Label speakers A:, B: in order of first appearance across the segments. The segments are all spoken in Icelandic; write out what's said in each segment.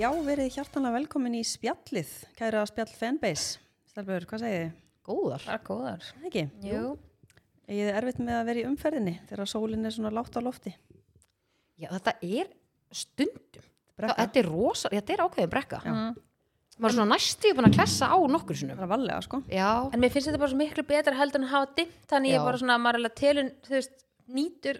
A: Já, verið hjartanlega velkomin í spjallið, kæra spjall fanbase. Stelbjörn, hvað segið þið?
B: Góðar.
C: Bara góðar.
A: Það Ekki?
B: Jú.
A: Ég er erfitt með að vera í umferðinni þegar sólinn er svona látt á lofti.
B: Já, þetta er stundum.
A: Brekka.
B: Þá- Þetta er rosa, þetta er ákveðin brekka.
A: Já.
C: Mhm.
B: Maður er svona næstu búin að klessa á nokkur sinnum.
A: Það er vallega, sko.
B: Já,
C: En mér finnst þetta bara svo miklu betra heldur en að hafa dimmt, þannig ég
B: Já.
C: er bara svona að maður er alveg telun, þú veist, nýtur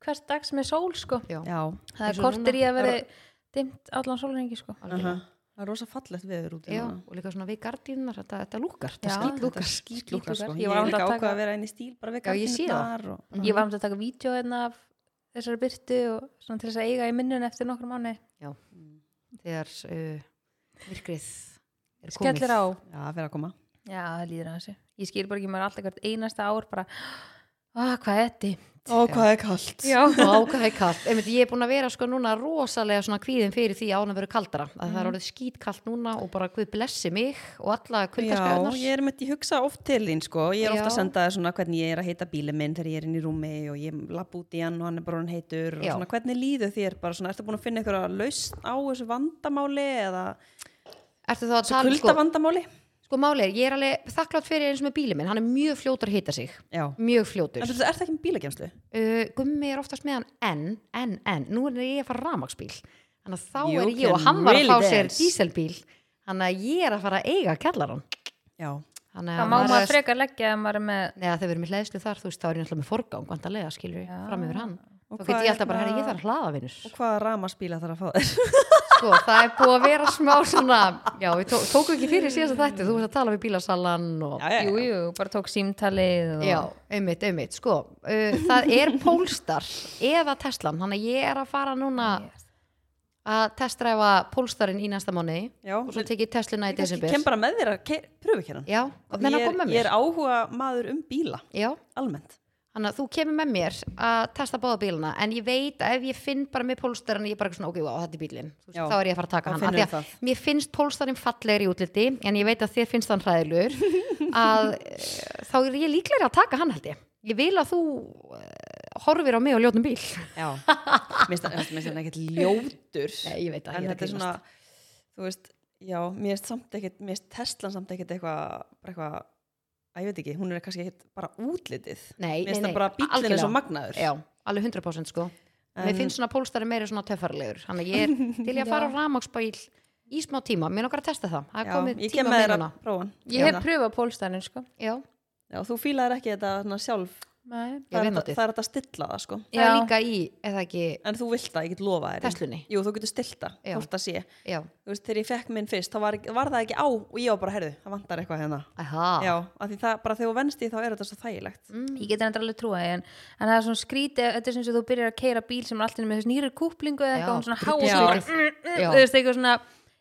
C: hvers dags með sól, sko.
B: já.
A: Já.
C: Það
B: Eins og
C: er
B: núna.
C: kortir
B: Mhm.
C: í að vera dimmt allan sólrengi, sko.
B: algjörlega.
A: Það er rosa fallegt veður út. í
B: Já,
A: núna.
B: og líka svona við gardínar, þetta, þetta lúkar, þetta
C: Já.
B: skýtlúkar.
A: Skítlúkar, sko.
C: Skítlúkar.
A: Ég
C: Ég var
A: var
C: einmitt
A: líka
C: að
A: ákvað
C: taka-
A: að vera inn í stíl bara við
B: Já, ég sé það.
A: gardínurnar og-
C: Ég var um þetta að taka vídeo hérna af þessari byrtu og svona til þess að eiga í minnun eftir nokkur mánu.
B: Mm. Þegar uh, virkrið er komið.
C: Skellir á.
A: Já, það fyrir að koma.
C: Já, það líður að þessu. Ég skil bara ekki maður er alltaf hvert einasta ár bara, ah, hvað er þetta?
A: Ó, hvað er kallt.
C: Já.
B: Já, hvað er kallt. Einmitt, ég er búin að vera sko núna rosalega svona kvíðin fyrir því að án að vera kaldara. Að Það er orðið skítkallt núna og bara Guð blessi mig og alla
A: Já,
B: kuldaskæðunar.
A: ég er með, ég hugsa oft til þín sko, ég er ofta
B: Já.
A: að senda þér svona hvernig ég er að heita bílið minn þegar ég er inn í rúmi og ég lapp út í hann og hann er bara hann heitur og
B: Já.
A: svona hvernig líðu þér bara svona, ertu búin að finna einhverja lausn á þessu vandamáli eða
B: Ertu þá að
A: þessu
B: tala
A: kulda
B: sko,
A: vandamáli?
B: sko máli er, ég er alveg þakklátt fyrir eins og með bílið minn, hann er mjög fljótur að hita sig,
A: Já,
B: mjög fljótur.
A: en þú ert ekki með bílagemslu?
B: Uh, gummi er oftast með hann en, en, en, nú er ég að fara ramaksbíl, þannig að þá
A: You
B: er ég og
A: can
B: hann var að
A: really
B: fá sér
A: dance.
B: díselbíl, þannig að ég er að fara að eiga kjallaran.
A: Já,
B: Þannig
C: Það
B: að
C: má
B: maður-
C: maður frekar leggja að maður er með
B: Nei, þegar við erum í hlæðslu þar, þú veist, þá er ég náttúrulega með forgang, vandarlega, skilur ég,
C: Já.
B: fram yfir hann.
A: Og
B: þá
A: hvað
B: get ég alltaf bara,
A: hérna-
B: herri, ég þarf hlaða vinnur.
A: og hvaða ramasbíla þarf að fá þér?
B: Sko, það er búið að vera smá svona, já, við tó tókum ekki fyrir síðast að þetta, þú veist að tala við bílasalan og...
A: já,
C: Jú, jú, bara tók símtalið og...
B: Já, einmitt, einmitt, sko, uh, það er Polestar eða Teslan, þannig að ég er að fara núna að testræfa Polestarinn í næsta mánu
A: Já,
B: og svo tekið Teslina í
A: ég kannski
B: desember.
A: kem bara með þér að ke- pröfu ekki hann.
B: Já, og menn að
A: ég,
B: koma
A: er-
B: með
A: ég er
B: mér.
A: áhuga maður um bíla,
B: Já,
A: almennt.
B: Þannig að þú kemur með mér að testa báða bíluna en ég veit að ef ég finn bara með pólstarinn ég er bara svona ok, wow, þetta er bílinn Þú veist,
A: Já.
B: þá er ég að fara
A: Þá
B: að taka hann
A: finnurðu
B: Af því að mér finnst pólstarinn fallegri í útliti en ég veit að þér finnst hann hræðilur að eh, þá er ég líklegri að taka hann held ég ég vil að þú uh, horfir á mig og ljótum bíl
A: Já, minnst það ekkert ljótur.
B: Nei, ég veit að
A: en
B: ég
A: þetta er svona þú veist, já, mér erst samt ekkert mér erst Teslan samt ekkert eitthvað bara eitthvað, að ég veit ekki, hún er kannski ekkert bara útlitið,
B: Nei,
A: mér
B: nei,
A: erst
B: nei,
A: það bara bíllinn er
B: algjörlega.
A: svo magnaður
B: Já, alveg 100% sko en... Mér finnst svona pólstarinn meiri svona töffarlegur þannig að ég er til ég að fara á ramagsbæl í smá tíma, mér nokkar að testa það það er
A: já,
B: komið
A: ég
B: tíma
A: kem
B: á
A: með þér að
B: vinnuna.
A: prófa hann
C: Ég hef pröfað pólstænin, sko.
B: Já.
A: já, þú fílaðir ekki þetta svona, sjálf
C: Nei.
B: Ég
A: það
B: veit
A: er,
B: notið.
A: hægt- það er hægt að stilla það sko
B: það er
C: Já.
B: líka í, eða ekki
A: en þú vilt það, ég get lofa þér
B: Teslunni?
A: jú, þú getur stilta,
B: Já.
A: hvort það sé
B: já,
A: þú veist, þegar ég fekk minn fyrst, þá var, ekki- var það ekki á og ég var bara, herðu, það vantar eitthvað hérna
B: aha
A: já, af því það, bara þegar þú venst því þá er þetta svo þægilegt
C: Ég get hendur alveg trúa, því, en, en það er svona skrítið, þetta er sem sem þú byrjar að keira bíl sem er alltaf með þess nýri kúplingu eða
B: Já,
C: eitthvað, hún svona
B: drullu
C: háa
B: skrítið.
C: og svona, mm, mm,
B: Já.
C: þú veist, eitthvað svona,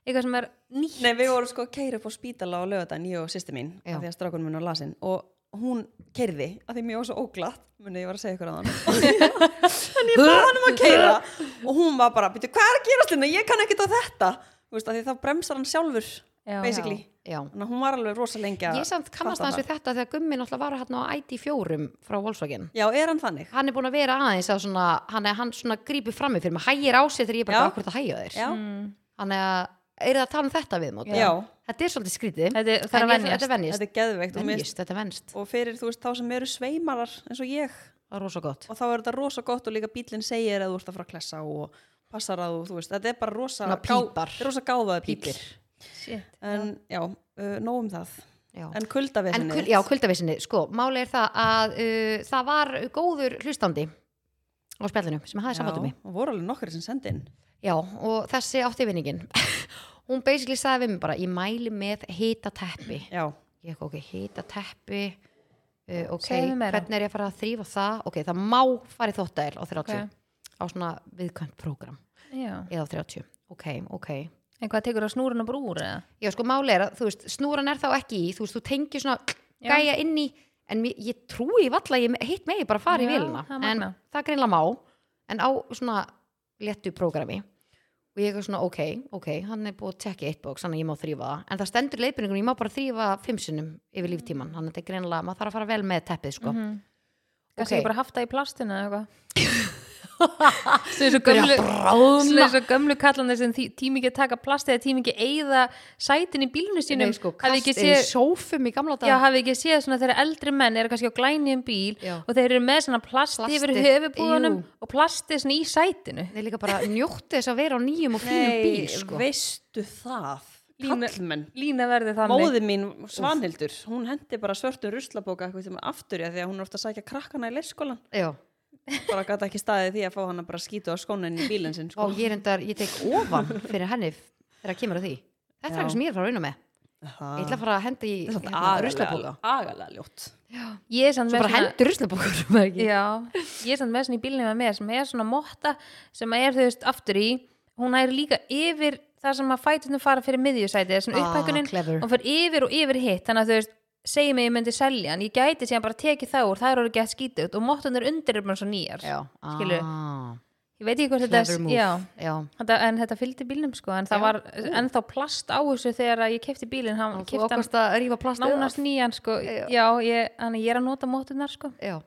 C: eitthvað sem er nýtt.
A: Nei, við vorum sko að keira upp á spítala á lögadaginn, ég og sýsti mín, af
B: Já.
A: því að strákunum minn var lasin og hún keirði, af því mér var svo óglatt muni ég var að segja ykkur á þann þannig ég bað hann um að keira og hún var bara, býttu, hvað er að gerast hérna ég kann ekkert á þetta, þú veist, af því þá bremsar hann sjálfur,
C: Já.
A: basically
B: já.
A: þannig að hún var alveg rosa lengi að
B: ég samt kannast
A: fatta
B: aðeins við þetta þegar Gummi náttúrulega var hérna á ID4 frá Volkswagen
A: Já, er hann þannig?
B: hann er búin að vera aðeins að svona hann, er, hann svona grípur frammi fyrir mig, hægir á sér þegar ég er
A: Já.
B: bara akkur að hægja þér
A: Já,
B: þannig að, er það að tala um þetta við mót
A: Já.
B: þetta er svolítið skrítið
C: Þetta er- það er
B: En ég-
C: venjast.
B: þetta er venjast,
A: þetta er geðveikt og, mér-
B: venjast, þetta er venjast
A: og fyrir, þú veist, þá sem eru sveimarar eins og ég
B: það er rosa gott
A: og þá er þetta rosa gott og líka bílinn segir að þú ert að fara að klessa og passar að þú, þú veist, þetta er bara rosa,
B: Svona pípar.
A: gá, rosa gáfaði bíl
B: Pípir.
C: Shit.
A: en já, uh, nóg um það
B: já.
A: en
B: En
A: kuldavesinni
B: kul, já, kuldaveisinni, sko, máli er það að uh, það var góður hlustandi á spjallinu sem hafði samvættum mig
A: og voru alveg nokkri sem sendi inn
B: Já, og þessi átti vinningin. Hún basically sagði við mig bara, ég mæli með hýta teppi.
A: já,
B: Ég ekki, ok, hýta teppi, uh, ok,
C: Segðu mér meira.
B: hvernig er ég að fara að þrýfa það? Ok, það má fara í þóttæl á 30,
C: Ok.
B: á svona viðkvæmt prógram,
C: Já.
B: eða á 30. Ok, ok.
C: En hvað tekur það snúruna bara úr, eða?
B: Já, sko, máli er að, þú veist, snúran er þá ekki í, þú veist, þú tengir svona gæja inn í, en ég, ég trúi valla að ég hitt megi bara að fara í
C: Já,
B: vilina.
C: það er
B: En
C: magnað.
B: það greinlega má, en á svona léttu prógrami og ég er svona ok, ok, hann er búið að tekja eitt bóks, þannig að ég má þrýfa það, en það stendur í leiðbyrningunum, ég má bara þrýfa fimm sinnum yfir líftíman, þannig að þetta er
C: Mhm.
B: greinilega, maður þarf að fara vel með teppið sko,
C: Kannski
B: Ok.
C: ég bara haft það í plastinu eða eitthvað. sem
B: Byrja
C: þessu gömlu
B: að bráðna.
C: sem þessu gömlu kallan þess að tími ekki að taka plast eða tími ekki að eyða sætin í bílnu sínum
B: Nei, sko,
C: hafi ekki
B: kastið í
C: séð
B: sófum í gamla
C: Já,
B: dag
C: hafi ekki séð svona þegar eldri menn eru kannski á glæni um bíl
B: Já.
C: og þeir eru með svona plast yfir
B: Plastið,
C: höfubúðunum
B: jú.
C: og plastið svona í sætinu
B: Nei, líka bara njótti þess að vera á nýjum og fínum bíl sko.
A: veistu það
C: Lína-
A: kallmenn
C: Lína verði þannig
A: Móði mín, Svanhildur, hún hendi bara svörtu ruslabóka eitthvað sem aftur í af því að hún er ofta að sækja krakkana í leirskólan
B: Já,
A: bara gæti ekki staðið því að fá hana bara skýtu á skónin í bílinn sinn
B: og
A: sko.
B: ég reyndar, ég tek ofan fyrir henni f- þegar kemur að því Þetta er
A: Já.
B: eitthvað sem ég er að fara að rauna með Ég ætla að fara að henda í hérna, ruslabóka
A: agalega ljótt
C: Ég er samt
B: Svo
C: með
B: bara
C: svona-
B: hendur ruslabókur
C: Já, ég er samt með svona í bílnum með mér sem er svona motta sem er þau veist aftur í hún er líka yfir það sem að fætunum fara fyrir miðjusæti þessum
B: Ah,
C: upphækunin
B: clever.
C: hún fer yfir og yfir hitt þannig að þau veist segi mig ég myndi selja hann ég gæti síðan bara tekið það úr, það eru ekki að skýta út og mottan er undir er bara svo nýjar
B: Já,
C: Skilurðu?
B: ah,
C: ég veit ekki hvort
B: clever
C: þetta
B: move
C: já,
B: Já,
C: þetta, en þetta fylgdi bílnum sko en það
B: Já.
C: var ennþá plast á þessu þegar að ég kefti bílinn hann
B: og þú
C: kefti hann
B: ákvæmst að rífa plastið
C: nánast
B: af.
C: nýjan sko
B: Já.
C: já, ég, þannig að ég er að nota mottunar sko
B: Já,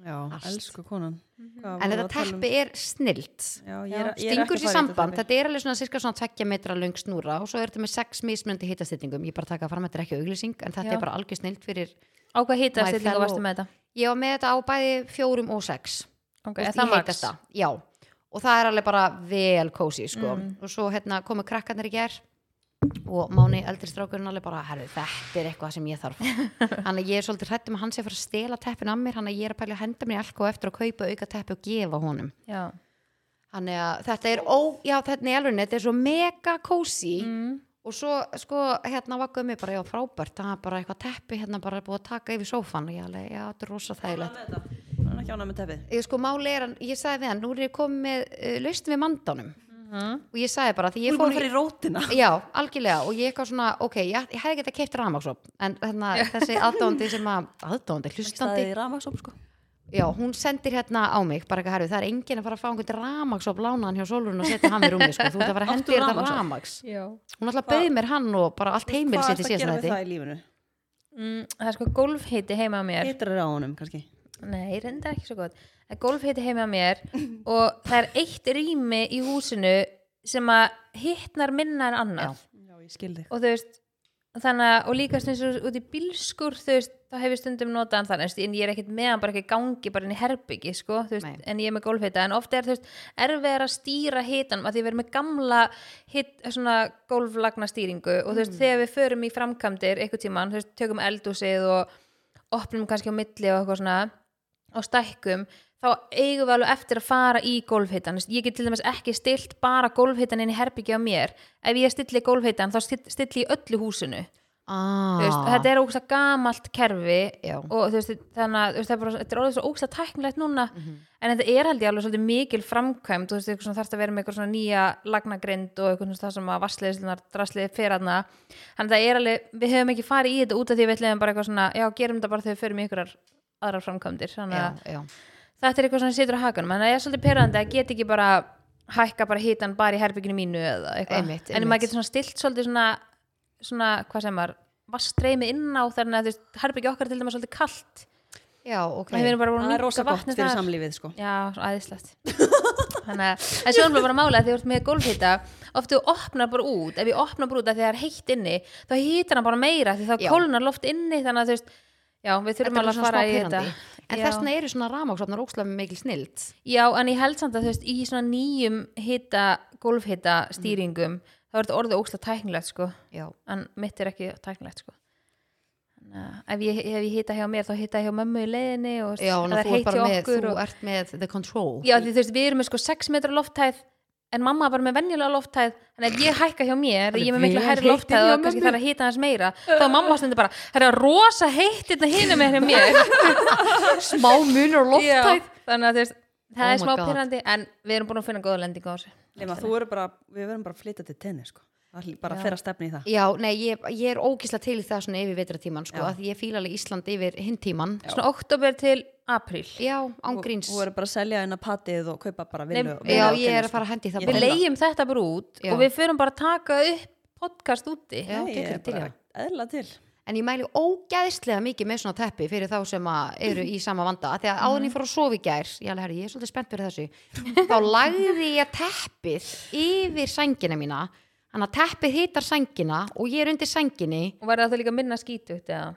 A: Já, elsku konan Hvað
B: en
A: vorum við
B: þetta
A: að tala um?
B: teppi er snilt
A: Já, ég er, ég er
B: stingur
A: ekki að fara í
B: sér
A: þetta
B: samband,
A: dæmi.
B: þetta er alveg svona cirka svona 2 metra löng snúra og svo er þetta með 6 mismunandi hitastillingum, ég er bara að taka fram þetta er ekki auglýsing en þetta
C: Já.
B: er bara algjör snilt fyrir
C: á hvað hita
B: My
C: stillingu
B: fellow-
C: varstu með þetta?
B: ég var með þetta á bæði fjórum og 6
C: Okay,
B: okay,
C: er það
B: í
C: max?
B: heitasta, já og það er alveg bara vel kósi sko.
C: Mm.
B: og svo hérna komu krakkarnir í ger og Máni eldri strákurinn alveg bara herru þetta er eitthvað sem ég þarf hann að ég er svolítið hrættum að hann sé að fara að stela teppin af mér hann að ég er að pæla að henda mér í alko eftir að kaupa auka teppi og gefa honum
C: Já.
B: þannig að þetta er ó, já þetta er alveg þetta er svo mega kósi
C: Mm.
B: og svo sko hérna var gummi bara já frábært það er bara eitthvað teppi hérna bara búið að taka yfir sófan og ég alveg já þetta er rosa þægilegt
A: Ánægð með þetta. Hann er ekki ánægð með teppið
B: ég sko máli er að ég sagði við hann nú er ég komið með uh, lausn við mandanum og ég sagði bara því
A: Hún Mhm.
B: ég
A: er búin að
B: fór
A: fara í rótina
B: já, algjörlega og ég eitthvað svona ok, ég, ég hefði getað keipt rafmaksop en þarna, þessi aðdóndi sem að aðdóndi, hlustandi,
A: Staðið í rafmaksop sko
B: já, hún sendir hérna á mig bara eitthvað herfið, það er enginn að fara að fá einhvern rafmaksop lánaðan hjá sólurinn og setja hann við rúmi sko. þú ert að fara að hendi
A: Áttu
B: þér þetta
A: rafmagnsofn?
B: rafmaks
C: Já.
B: hún alltaf bauð mér hann og bara allt heimil
A: Hvað ertu að
B: sitt í
A: gera
B: síðan
A: með
B: þetta
A: það í lífinu?
C: Mm, það er sko golfhiti heima á mér
A: Hittar er á honum kannski
C: Nei, reyndar ekki svo gott Það er golfhiti heima á mér og það er eitt rými í húsinu sem að hittnar minna en annað
A: Já, ég skil þig
C: og þú veist þannig að, og líka stundum út í bílskur þú veist, þá hef ég stundum notað hann þannig þú veist, en ég er ekkert með hann bara ekki í gangi bara inn í herbyggi, sko, þú veist,
B: Nei.
C: en ég er með gólfhita en ofta er, þú veist, erfið að stýra hitanum að því ég verið með gamla hit, svona gólflagna stýringu og þú veist, þegar við förum í framkvæmdir eitthvað tíman, þú veist, tökum eldúsið og opnum kannski á milli og eitthvað svona og stækkum þá eigum við alveg eftir að fara í gólfhittan ég get til dæmis ekki stilt bara gólfhittan inn í herbyggja á mér ef ég stilli gólfhittan þá still- stilli ég öllu húsinu Þú veist,
B: ah,
C: þetta er ógsta gamalt kerfi
B: Já.
C: og þú veist, þannig að þú veist, það er bara, þetta er orðið svo ógsta tæknilegt núna
B: Mhm.
C: en þetta er held ég alveg svolítið mikil framkvæmd þú veist, eitthvað svona þarft að vera með eitthvað svona nýja lagnagrind og eitthvað svona það sem að vassleðislunar draslið fyrir hana þannig að það er alveg, við höfum ekki farið í þetta út af því við ætlum bara eitthvað svona, já, gerum þetta bara þegar við förum í einhverjar aðrar framkvæmdir þannig að
B: já, já.
C: þetta er eitthvað sem situr á hakanum en það er svolítið perandi að geta ekki bara hækka bara hitan bara í herbygginu mínu eða eitthvað,
B: Einmitt,
C: en
B: einmitt.
C: maður getur svona stilt svolítið svona, svona hvað sem maður vastreimi inn á þannig að þú veist, herbyggja okkar er til dæmis svolítið kalt
B: já, ok
C: okay. við erum bara búin
A: Það
C: að
A: er rosa
C: minka
A: gott
C: vatnið
A: fyrir
C: þar
A: samlífið sko
C: já, svo æðislegt þannig að, en svo erum við bara að mála að því þú ert með gólfhita oft þú opnar bara út, ef ég opnar bara út að því það er heitt inni, þá hýtar hann bara meira því þá
B: Já.
C: kólnar loft inni þannig að þú veist, já, við
B: Þetta
C: þurfum
B: er
C: alveg
B: alveg
C: að fara
B: svona smá
C: í þetta
B: pyrrandi. En
C: Já.
B: þess vegna eru svona rafmaksopnar ókslega mikil snilt.
C: Já, en ég held samt að þú veist, í svona nýjum hita, golfhita
B: Mhm.
C: stýringum þá er þetta orðið ógstlega tæknilegt sko
B: Já.
C: en mitt er ekki tæknilegt sko Þannig að ef ég, ef ég hita hjá mér þá hita ég hjá mömmu í leiðinni og þú veist,
B: Já,
C: það
B: en þú
C: heitt
B: ert bara
C: hjá
B: með,
C: okkur
B: þú
C: og...
B: ert með the control.
C: Já, því þú veist, við erum með sko 6 metra lofthæð en mamma var með venjulega lofthæð en ef ég hækka hjá mér, ég er með miklu
B: vel
C: hærri
B: heitt
C: lofthæð
B: inni hjá
C: og kannski
B: mömmu.
C: þarf að hita hans meira þá er mamma stendur bara, það er rosa heitt hérna hinum með mér
B: Smá munur og
C: Já, þannig að þú veist, það
B: Oh
C: er
B: my
C: smá
B: God.
C: pyrrandi en við erum búin að finna góða lendingu á þessu
A: Nefna, þú eru bara, við verðum bara að flytja til tenni sko Það er bara að fyrra stefni í það
B: Já, nei, ég, ég er ógislega til í það svona yfir vetratíman, sko, að ég fíla alveg Ísland yfir hinn tíman.
C: svona oktober til apríl
B: Já, ángríns.
A: Þú eru bara að selja inn að patið og kaupa bara vinnu
C: Nei,
B: Já, ég er að fara að hendi það
A: Ég
C: við
A: finna.
C: leigjum þetta bara út
B: Já.
C: og við förum bara að taka upp podcast úti
B: Já,
A: Já, ég
B: getur
A: er
B: til,
A: bara
B: já.
A: eðla til
B: en ég mæli ógæðislega mikið með svona teppi fyrir þá sem að eru í sama vanda af því að áður en ég fór að sofa í gær ég, alveg, herri, ég er svolítið spennt fyrir þessu þá lagði ég teppið yfir sængina mína þannig að teppið hitar sængina og ég er undir sænginni
C: og var það þá líka minna skítugt eða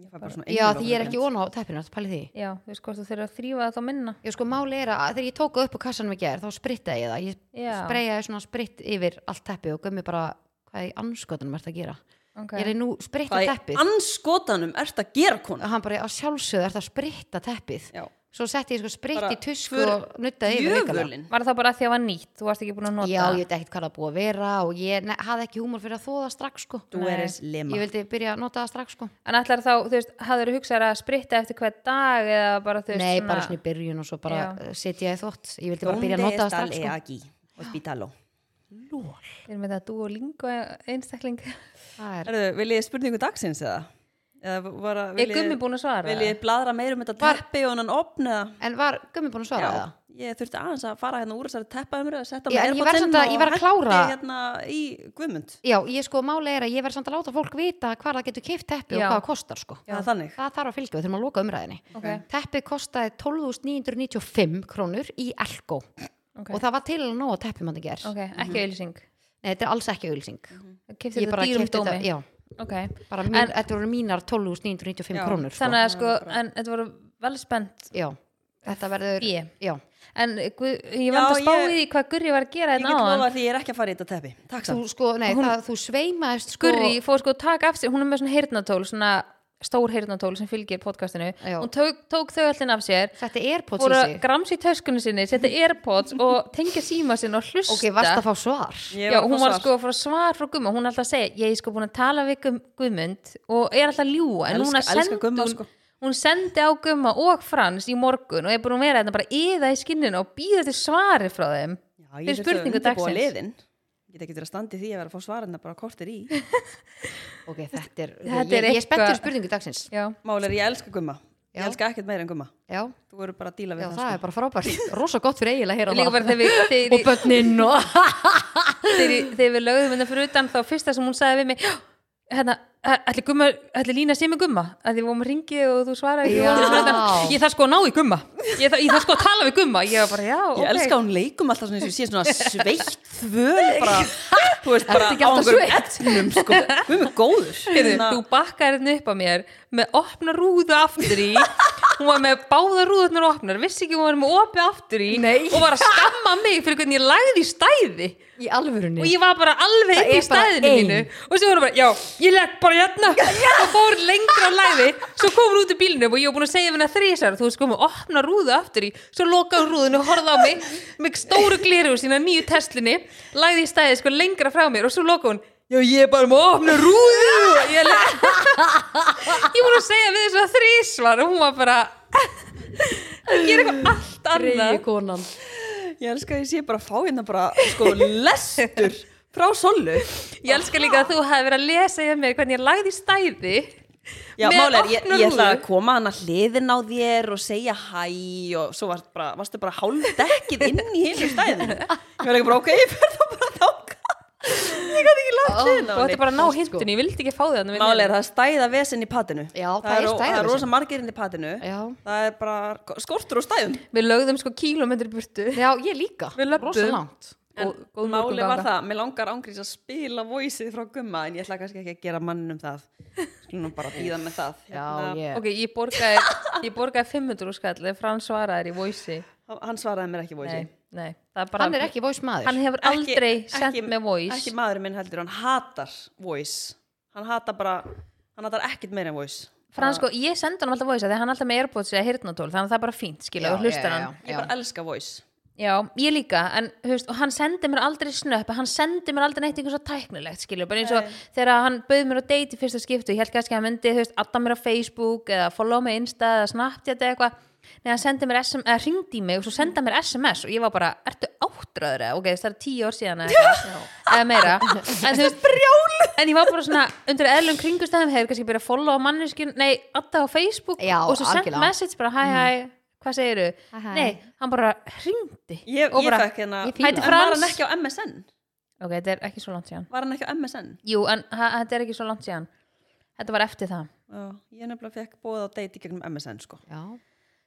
A: Ég fæ bara svona
B: já
A: einhverjum
B: því ég er ekki
A: ógeðs.
B: ofan á teppinu pæli því
C: já, þú veist hvort þú þurfa að þrýfa það þá minna
B: Já, sko, máli er að þegar ég tók upp á kassanum í gerð, þá sprittaði ég það. Ég
C: Já.
B: spreyjaði svona spritt yfir allt teppi og gömmi bara, hvað er anskotanum ert að gera?
C: okay.
B: Ég er nú spritta
A: Hvað í
B: teppið.
A: anskotanum ert að gera konu?
B: Og hann bara, á sjálfsögðu ert að spritta teppið.
A: Já.
B: Svo setti ég sko spritt
A: Bara
B: í tusku
A: för-
B: og nuttaði yfir vikalega.
A: Jöfulinn.
C: var það bara að því að það var nýtt, þú varst ekki búin að nota
B: Já,
C: það?
B: ég veit ekkert hvað það er búið að vera og ég ne, hafði ekki húmor fyrir að þóða strax sko.
A: Þú
C: Nei.
A: er eins lema.
B: Ég vildi byrja að nota það strax sko.
C: en ætlar þá, þú veist, hafður þú hugsað að spritta eftir hvern dag eða bara þú veist
B: Nei, bara svona í byrjun og svo bara
C: Já.
B: eh, setja ég í þvott. Ég vildi bara
A: Donde
B: byrja að nota það
A: está el
B: strax sko.
A: EAG? Hospitalo.
C: við erum með það duolingo einstakling
B: Það er-
A: Herðu, viljið þið spurningu dagsins eða? eða bara,
C: er gummi búin að svara?
A: Viljið þið bladra meir um þetta teppi og hann opn eða?
B: En var Gummi búin að svara það?
A: ég þurfti aðeins að fara hérna úr þessari teppaðumröð að setja
B: Já,
A: mig
B: en ég verð samt að- ég verð að klára-
A: hérna í guðmund.
B: Já, ég sko máli er að ég verð samt að láta fólk vita hvað það getur keift teppi og
C: Já.
B: hvað það kostar sko.
A: Já, þannig.
B: Það þarf að fylgja, við þurfum að loka umræðinni.
C: Ok.
B: Teppið kostaði 12.995 krónur í Elko
C: Ok.
B: og það var til að ná að teppi mann að gera.
C: ok, ekki auðlýsing
B: Nei, þetta er alls ekki auðlýsing.
C: kefti þetta Mhm. dýrum
B: keypti
C: dómi
B: já,
C: ok,
B: bara mín, þetta voru mínar 12.995
A: Já,
B: krónur sko.
C: þannig að sko, en þetta voru vel spennt
B: Já, þetta verður,
C: Fé.
B: já.
C: en guð, ég
A: Já,
C: var að spá
A: ég-
C: í því hvað Gurri var að gera
A: Ég
C: þetta
A: get
C: áðan
A: lofa því ég er ekki að fara í þetta teppi. Takk
B: Þú
A: samt.
B: sko, nei, það, þú sveimaðist sko.
C: Gurri fór sko að taka af sér, hún er með svona heyrnatól svona stór heyrnatól sem fylgir podcastinu
B: Já.
C: hún tók, tók þau allir af sér
B: Þetta er pots
C: fór
B: í
C: að
B: sig.
C: gramsa í töskunni sinni, setja airpods og tengja síma sinni og hlusta
B: Ok, varst að fá svar?
A: Ég
C: Já,
A: að fá
C: hún var
A: svar.
C: sko að fá svar frá Gumma hún er alltaf að segja, ég er sko búin að tala við Gum- Guðmund og er alltaf að ljúga en
A: Elska-
C: núna
A: elska
C: sendi
A: Gumma,
C: hún,
A: sko.
C: hún sendi á Gumma og Frans í morgun og er búin að vera þetta bara yða í skinninu og býða til svari frá þeim
A: Já, ég
C: fyrir
A: þurfti að
C: spurningu
A: undirbúa
C: dagsins.
A: liðin. Ég get ekki verið að standi því að vera að fá svarina bara kortir í.
B: Ok, þetta er,
C: Þetta
B: ég,
C: er
B: ég er spennt fyrir
C: eitthvað-
B: spurningu dagsins.
C: Já,
A: Mál er ég elska gumma. Ég
B: Já.
A: elska ekkert meira en gumma.
B: Já.
A: Þú eru bara að díla við sko.
B: Já,
A: það.
B: það er bara frábært, rosa gott fyrir eiginlega að heyra
C: sko. líka bara
B: það
C: þegar við, þegar,
B: og börnin og
C: þegar, þegar við lögðum hérna fyrir utan þá fyrsta sem hún sagði við mig "Já, hérna, ætli, gumma, ætli lína sé með gumma að því vorum ringið og þú svaraði ekki
B: Já.
C: og þú svaraði þetta, ég þarf sko að ná í gumma ég þarf, ég þarf sko að tala við gumma ég var bara, já,
A: Ég elska að hún leikum alltaf svona eins og ég sé svona sveitt þvöl bara, þú veist, bara á
B: ekki alltaf
A: einhverjum etnum, sko, við erum góður.
C: Heyrðu,
A: Hérna,
C: þú bakkaði hérna upp á mér með opna rúðu aftur í hún var með báða rúðurnar opnar vissi ekki hún var með opið aftur í
B: Nei.
C: og var að skamma mig fyrir hvernig ég lagði í stæði
B: í alvörunni
C: og ég var bara alveg
B: Það
C: upp í
B: er bara
C: stæðinu
B: ein.
C: mínu og svo var hún bara, já, ég legg bara hérna og fór lengra á læði svo kom hún út í bílnum og ég var búin að segja hérna þrísar þú veist sko, með opna rúðu aftur í svo lokaði hún rúðinu og horfði á mig með stóru gleru sína nýju teslinni lagði í stæði sko lengra frá mér og svo lokaði hún Já, ég er bara með opna rúðu og Ég er ég var að segja við þessu að þrísvar og hún var bara að gera eitthvað allt annað
B: reyði konan
A: ég elska að ég sé bara að fá hérna bara, sko, lestur frá Sollu.
C: ég elska líka að þú hefði verið að lesa hjá mér hvernig ég lagði í stæði
A: Já,
C: með
A: málega, ég,
C: opna
A: ég ætla að
C: rúðu.
A: koma hann að hliðin á þér og segja hæ og svo varst bara, varstu bara hálfdekkið inn í hinu stæðinu. Ég var ekki bara, ok, ég fer þá bara þáka. Ég gæti ekki lagt hliðin á
C: og þetta
A: henni.
C: er bara að ná hindun, ég vildi ekki fá þig þarna við
A: Málega,
C: neina.
A: það er stæða vesen í patinu.
B: Já, það er
A: ó- Það er
B: stæðavesen.
A: rosa margirinn í patinu.
B: Já.
A: Það er bara skortur og stæðum.
C: við lögðum sko kílómetri burtu
B: já, ég líka,
C: Við löbbum.
B: rosa langt
A: En
C: Og- góð
A: máli var
C: morgunganga.
A: það, mér langar ángrís að spila voiceið frá gumma en ég ætla kannski ekki að gera manninum það skulum nú bara býða með það
B: já, ég
C: Hérna, ok, ég borgaði, ég borgaði 500 skall ef Frans svaraði þér í voice
A: Hérna, Hann svaraði mér ekki voiceið
C: nei, nei, það er bara
B: hann er ekki voice maður
C: hann hefur
A: Ekki-
C: aldrei
A: ekki-
C: sendt með voice
A: Ekki maðurinn minn heldur, hann hatar voice Hann hatar bara, hann hatar ekkert meira en voice
C: Frans sko, ég sendi hann alltaf voice þegar hann er alltaf með airpods eða hirtnatól þannig að það er bara fínt, skilja,
B: Já,
C: og hlustar
B: já,
C: hann
B: já.
A: Ég bara elska voice
C: Já, ég líka, en hefst, og hann sendi mér aldrei snöpp, hann sendi mér aldrei neitt einhvers að tæknilegt, skilju, bara eins og þegar hann bauð mér á date í fyrsta skiptu, ég held kannski að hann myndi, hefst, adda mér á Facebook eða follow mig á Insta eða Snapchat eða eitthvað, neða hann sendi mér SMS, eða ringdi í mig og svo sendi hann mér SMS og ég var bara, ertu áttröður eða, ok, þess, það er tíu ár síðan eða, eitthvað, eða meira, en þú veist, brjál, en ég var bara svona, undir eðlum kringustæðum hefur kannski byrjað að follow á manneskjum, nei, adda á Facebook
B: Já,
C: og svo sent
B: algjörlega. Mhm.
C: message bara, hæ, hæ, hvað segiru?
B: Hæ, hæ.
C: Nei, hann bara hringdi
A: Ég,
C: og
A: ég
C: bara,
A: fekk hérna,
B: ég fíla.
A: en
C: Hæti
A: var
C: Frans.
A: hann ekki á MSN?
C: ok, þetta er ekki svo langt síðan
A: Var hann ekki á MSN?
C: jú, en ha- þetta er ekki svo langt síðan þetta var eftir það
A: Já, ég nefnilega fekk bóð á date í gegnum MSN sko.
B: já,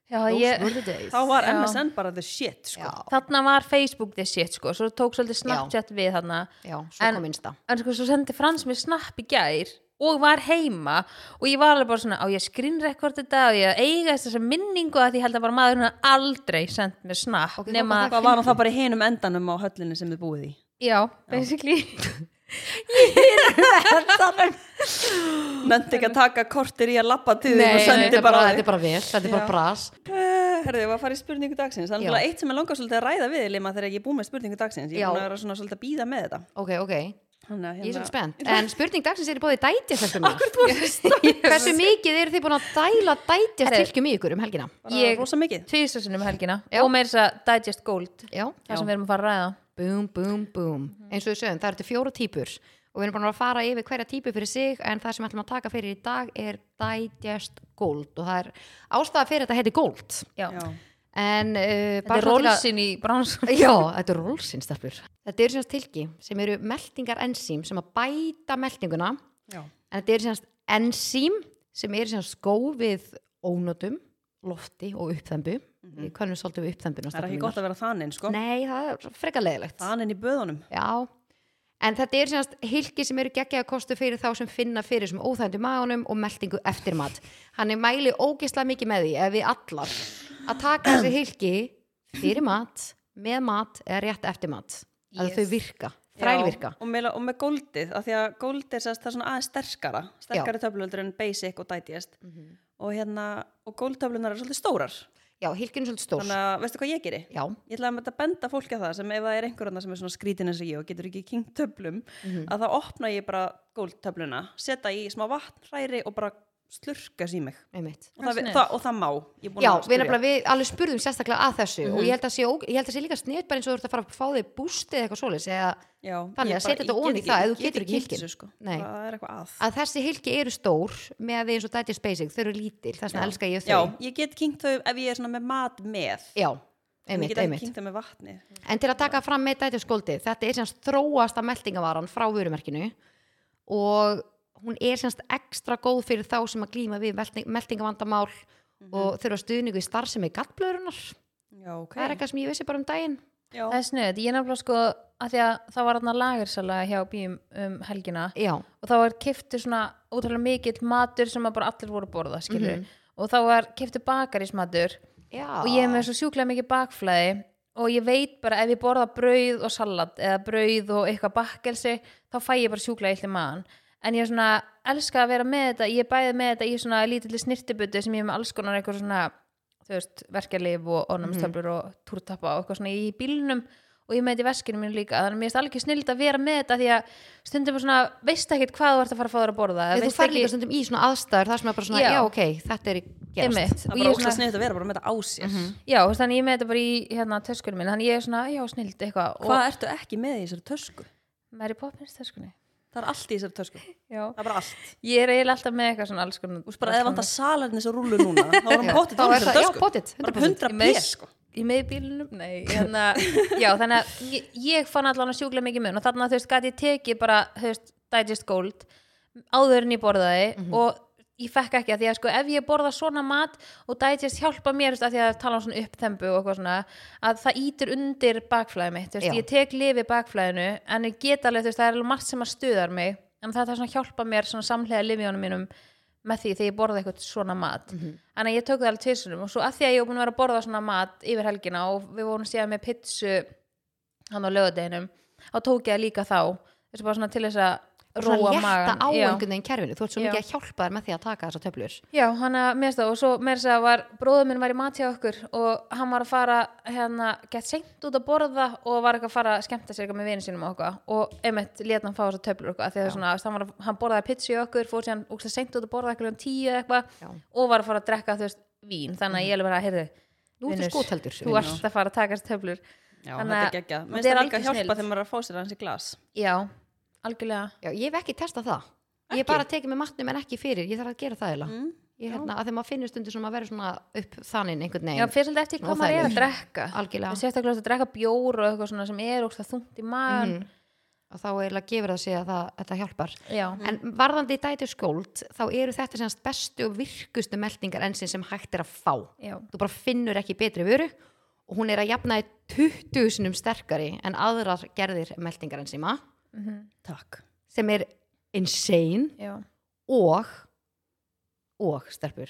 C: já, ég,
B: those were the days.
A: Þá var
C: Já.
A: MSN bara the shit sko.
B: já,
C: þarna var Facebook this shit sko, svo tók svolítið Snapchat við þarna
B: já, svo
C: En-
B: kom insta
C: en sko svo sendi Frans mér snapp í gær og var heima og ég var alveg bara svona á ég skrínrekord þetta og ég að eiga þess að minningu að því ég held að bara maðurinn hafi aldrei sendt mér snapp
B: Ok,
C: nema,
B: hvað var
A: Hvað var nú það bara í hinum endanum á höllinni sem þið búið í?
C: já, basically
A: Nöndi ekki að taka kortir í að lappa til því
B: Nei,
A: og
B: þetta
A: sendi
B: er
A: bara
B: bara,
A: á
B: þetta er
A: þig.
B: bara vel, þetta er bara
A: Já.
B: bras
A: Eh, Herðu, ég var að fara í spurningu dagsins. Það er náttúrulega eitt sem ég langar svolítið að ræða við, Lima, þegar ég er búið með spurningu dagsins. Ég
B: Já.
A: er búin að vera svona svolítið að býða með þetta.
B: Ok, ok,
A: Þannig að
B: ég er
A: hérna-
B: svo spennt En spurning dagsins er í bóði dætjastelpuna Hversu mikið eru þið búin að dæla dætjastilkjum í ykkur um helgina?
A: Bara
C: Ég-
A: rosa mikið.
C: tvísasunum um helgina og meira þess að Digest Gold
B: Já,
C: það sem við erum að fara að ræða
B: búm, búm, búm Eins og við sögum, það eru til fjóra típur og við erum búin að fara yfir hverja típu fyrir sig en það sem við ætlum að taka fyrir í dag er Digest Gold og það er ástæða fyrir þetta heiti Gold
C: já.
A: Já.
B: en uh,
C: þetta er rólsinn í bransan
B: Já, þetta er rólsinstaflur Þetta eru semst tilki sem eru meltingar ensím sem að bæta meltinguna
A: Já.
B: en þetta eru semst ensím sem eru semst gófið ónotum, lofti og uppþembu mm -hmm. Könnum svolítið við uppþembuna
A: Mhm. Það er ekki
B: stelpurnar.
A: gott að vera þaninn, sko.
B: Nei, það er frekar leðilegt
A: Þaninn í böðunum.
B: Já, en þetta er semast hilki sem eru geggjaða kostu fyrir þá sem finna fyrir sem óþægndi maganum og meltingu eftir mat. Hann er mæli ógislega mikið með því, ef við allar, að taka þessi hilki fyrir mat, með mat eða rétt eftir mat. Að
C: Yes.
B: þau virka, þrælvirka.
A: Já, og með, og með goldið, af því að gold er sérst, það er svona aðeins sterkara sterkari töflunöldur en basic og digest
B: Mhm.
A: og hérna, og goldtöflunar eru svolítið stórar
B: Já, hilkin er svolítið stór.
A: þannig að, veistu hvað ég geri?
B: Já,
A: Ég ætla að þetta benda fólki að það sem ef það er einhverjana sem er svona skrítin eins og ég og getur ekki kynkt töflum
B: Mhm.
A: að þá opna ég bara goldtöfluna setja í smá vatn, hræri og bara slurka í mig
B: einmitt.
A: og það,
C: sniðugt.
A: það, og það má, ég er búin
B: Já,
A: að
B: við,
A: spyrja. Mhm.
B: nefnilega- við alveg spurðum sérstaklega að þessu og ég held að sé, ó- ég held að sé líka snið bara eins og þú ert að fara að fá þig bústið eða eitthvað svoleiðis eða
A: Já, ég
B: Þannig að
A: bara-
B: setja þetta
A: ég
B: ofan
A: get
B: í það
A: ekki- ég
B: ef þú
A: get
B: getur
A: ekki
B: ekki
A: kynkt
B: hilkin.
A: þessu, sko.
B: Nei.
A: það er eitthvað að
B: að þessi hilki eru stór með að við eins og Digest Basic, þau eru lítil, þess vegna elska ég þau.
A: Já, ég get kynkt þau ef ég er svona með mat með
B: Já,
A: En ég
B: einmitt,
A: get ekki
B: einmitt.
A: kynkt þau með vatni
B: En til að taka fram með dætjaskóldið, þetta er semst þróasta meldingavaran frá vörumerkinu og hún er semst ekstra góð fyrir þá sem að glýma við meldingavandamál
C: Mhm.
B: og þurfa stuðningu í starfsemi gallblöðurunar.
A: Já, ok.
B: Það er eitthvað sem ég vissi bara um daginn.
A: Já.
C: það er snuð, ég er nefnilega sko að því að það var þarna lagersala hjá bíum um helgina
B: Já,
C: og þá var kiftu svona ótrúlega mikill matur sem að bara allir voru að borða skilur og þá var kiftu bakarísmatur
B: já.
C: og ég er með svo sjúklega mikið bakflæði og ég veit bara ef ég borða brauð og salat eða brauð og eitthvað bakkelsi þá fæ ég bara sjúklega illi maðan en ég er svona elska að vera með þetta ég er bæði með þetta í svona lítilli snirtibutu sem ég er með alls konar eitthvað svona þú veist, verkjalif og ornumstöflur
B: Mhm.
C: og túrtappa og eitthvað svona í bílnum og ég er með þetta í veskinu mínu líka þannig að mér er alveg snild að vera með þetta því að stundum er svona, veist ekkert hvað þú ert að fara að fá þér að borða eða
B: Ég, þú
C: veist
B: fær
C: ekki-
B: líka stundum í svona aðstæður þar sem er bara svona, já,
C: Já.
B: ok, þetta er í Mhm. gerast.
C: Einmitt.
A: Það er
C: Og ég
A: bara
C: er
A: óslega
C: svona-
A: sniðið að vera bara með þetta á sér.
C: Já, þú veist, þannig ég er með þetta bara í hérna, töskunum minn, þannig ég er svona, já, snild eitthvað og-
A: Hvað ertu ekki með í þessari tösku?
C: Mary Poppins töskunni
A: Það er allt í þessari tösku.
C: Já.
A: Það er bara allt.
C: ég er eiginlega alltaf með eitthvað svona alls konar
A: Þú veist bara eða vantar hérna salarni sem rúlu núna, þá er hann
B: Já,
A: potið
B: þá
A: á
B: er
A: þessari
B: það- já,
A: tösku.
B: pottet,
A: Bara 100
B: 100%.
C: Ég
A: pér,
C: með-
A: sko.
C: í meðbílunum, nei hérna, já, þannig að ég, ég fann allan að sjúkla mikið mun og þannig að þú veist, gæti ég tekið bara, þú veist, digest gold áður en ég borðaði og ég fekk ekki að því að sko ef ég borða svona mat og digest hjálpa mér þú veist, að því að tala um svona uppþembu og eitthvað svona að það ítir undir bakflæði mitt þú veist,
B: Já.
C: ég tek lifi bakflæðinu en ég get alveg, þú veist, það er alveg margt sem að stuðar mig en það er svona að hjálpa mér svona samhlega lifjónum mínum með því þegar ég borða eitthvað svona mat
B: Mhm.
C: Þannig að ég tók það alveg tvisunum og svo að því að ég var búin að vera að borða svona mat yfir helgina og við vorum síðan með pitsu hann á lögadeginum þá tók ég það líka þá þessi bara svona til þess að
B: Róa
C: róa
B: létta
C: magan
B: á
C: Já.
B: einhvern veginn kerfinu. Þú ert svo
C: Já.
B: mikið að hjálpa þér með því að taka þessa töflur.
C: Já, hann að mér stóð og svo mér stóð var bróður minn var í mat hjá okkur og hann var að fara hérna gett seint út að borða og var eitthvað að fara að skemmta sér eitthvað með vinnu sínum og okkur og einmitt leta hann fá þessar töflur og eitthvað þegar svona, þú veist, hann, var, að- hann borðaði pizza í okkur fór síðan úkst að seint út að borða eitthvað um tíu eða
B: Já.
C: eitthvað og var að fara að drekka þú veist vín
B: Mhm.
C: þannig að ég alveg bara, heyrðu,
B: Nú ertu
C: vinur,
B: skotheldur,
C: þú ert að fara að taka þessar töflur
A: Já,
C: Þannig
A: þetta er
C: að-
A: geggja. Mér
C: þetta
A: finnst
C: er
A: það líka
C: algjör
A: að hjálpa
C: snilld.
A: þegar maður er að fá sér hans í glas.
C: Já, algjörlega
B: Já, ég hef ekki testað það. Ég hef
A: Ekki?
B: bara tekið með matnum en ekki fyrir. Ég þarf að gera það eða.
A: Mm,
B: Ég hérna, að þegar maður finnir stundu sem að vera svona upp þaninn einhvern
C: Já,
B: veginn.
C: fyrir svolítið eftir hvað maður er að drekka
B: Algjörlega.
C: Sérstaklega að drekka bjór og eitthvað svona sem er ógeðslega þungt í magan
B: Mhm. og þá eiginlega gefur það sig að það, þetta hjálpar
C: já,
A: Mm.
B: en varðandi dætu skóld þá eru þetta semast bestu og virkustu meldingar ensin sem hægt er að fá
C: já,
B: þú bara finnur ekki betri vöru og hún er að jafna í 20 sinum sterkari en aðrar gerðir meldingar ensima
A: Takk.
B: sem er insane
C: mhm, já,
B: og og stelpur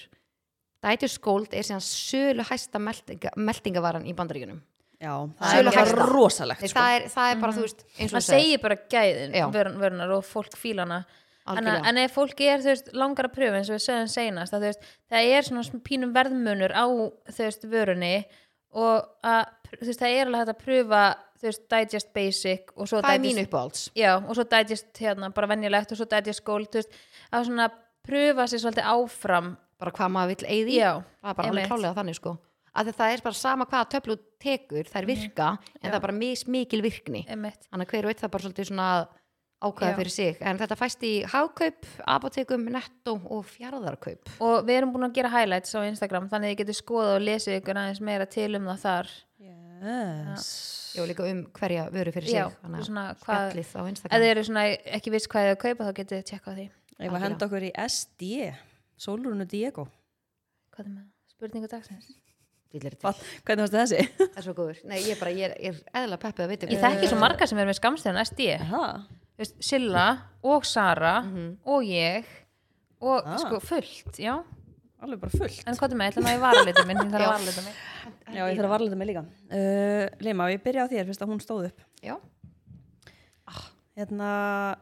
B: dætu skóld er síðan sölu hæsta meldinga, meldingavaran í bandaríkunum
A: Já,
B: Sölu
A: það er
B: hæsta.
A: bara rosalegt
B: Nei,
A: sko.
B: það, er, það er bara, þú veist, eins og
C: maður
B: þú sagðir,
C: Mhm. segir bara gæðin
B: Já.
C: vörun- vörunar og fólk fílana en,
B: algjörlega.
C: en ef fólk er þú veist, langar að pröfa eins og við sögum seinast að, þú veist, það er svona sm- pínum verðmunur á þú veist, vörunni og að, þú veist, það er alveg hægt að pröfa þú veist, digest basic og svo
B: það er
C: digest
B: mín uppáhalds
C: já, og svo digest hérna, bara venjulegt og svo digest gold þú veist, að svona pröfa sér svolítið áfram
B: bara hvað maður vill eigði
C: Já,
B: það er bara
C: einmitt.
B: alveg klálega þannig sko að það er bara sama hvaða töflu þú tekur
C: Mhm.
B: þær virka en það er bara mis mikil virkni
C: einmitt,
B: þannig að hver veit það bara svolítið svona að ákvæða
C: Já.
B: fyrir sig en þetta fæst í hagkaup, apotekum, netto og fjarðarkaup
C: og við erum búin að gera highlights á Instagram þannig að þið getur skoðað og lesið ykkur aðeins meira til um það þar
A: Yes.
B: Jó, líka um hverja vöru fyrir sig
C: já,
B: þannig að
C: svona hvað
B: spjallið á
C: ef
B: Instagram
C: þið eru svona ekki viss hvað þið að kaupa þá getið þið tjekkað á því
A: Ég var að henda okkur í SD, Sólrunu Diego.
C: hvað er með spurningu dagsins
B: Dillir
A: Hvað-
B: til.
A: Hvernig varst þessi?
B: Það er svo góður, nei ég er bara, ég er, ég er eðla peppið að veit
C: ég þekki svo marga sem er með skamstæðan SD
A: Það?
C: Veist, Silla og Sara og ég og
A: Ah.
C: sko fullt, já
A: Alveg bara fullt.
C: en hvað er með, ætla maður í varalita minn ég þarf
B: Já.
C: að varalita minn
A: Já, ég þarf að varlega mig líka. Uh, Lima, ég byrja á þér, finnst að hún stóð upp.
B: Já,
A: Hérna,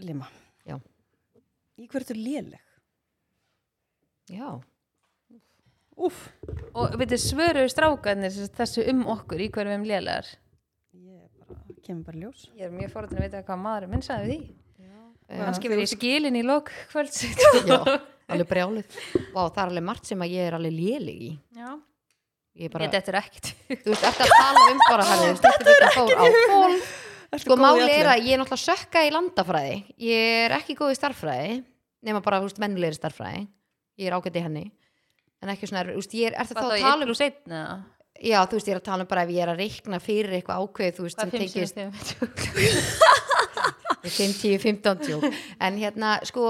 A: Lima,
B: já,
A: í hverju ertu léleg?
B: já
A: Úf,
C: og veitir svöru strákarnir sem sagt þessu um okkur í hverju við erum lélegar
A: ég bara, kemur bara í ljós.
C: ég er mjög forðin að vita hvað maður minn sagði við því
B: Eh,
C: kannski verið í skilin í lok kvölds
B: Já, alveg brjálið Vá, það er alveg margt sem að ég er alveg léleg í
C: já,
B: Ég er
C: ég
B: bara,
C: dettur ekkert
B: þú veist, ertu að tala um bara herri, Þetta er ekki fór á ból
A: Ertu
B: Sko
A: góð í
B: máli er
A: öllu?
B: að ég er náttúrulega sökka í landafræði Ég er ekki góð í starffræði nema bara, þú veist, mennulegri starffræði Ég er ágætt í henni En ekki svona, þú veist, ég er, ertu þá að
C: Hvað þá,
B: tala
C: ég
B: um
C: plus einn eða?
B: Já, þú veist, ég er að tala um bara ef ég er að reikna fyrir eitthvað ákveð, þú veist, sem
C: Hvað fimm
B: tengist
C: sinni stigum?
B: 5, 10, 15 tjók En hérna, sko,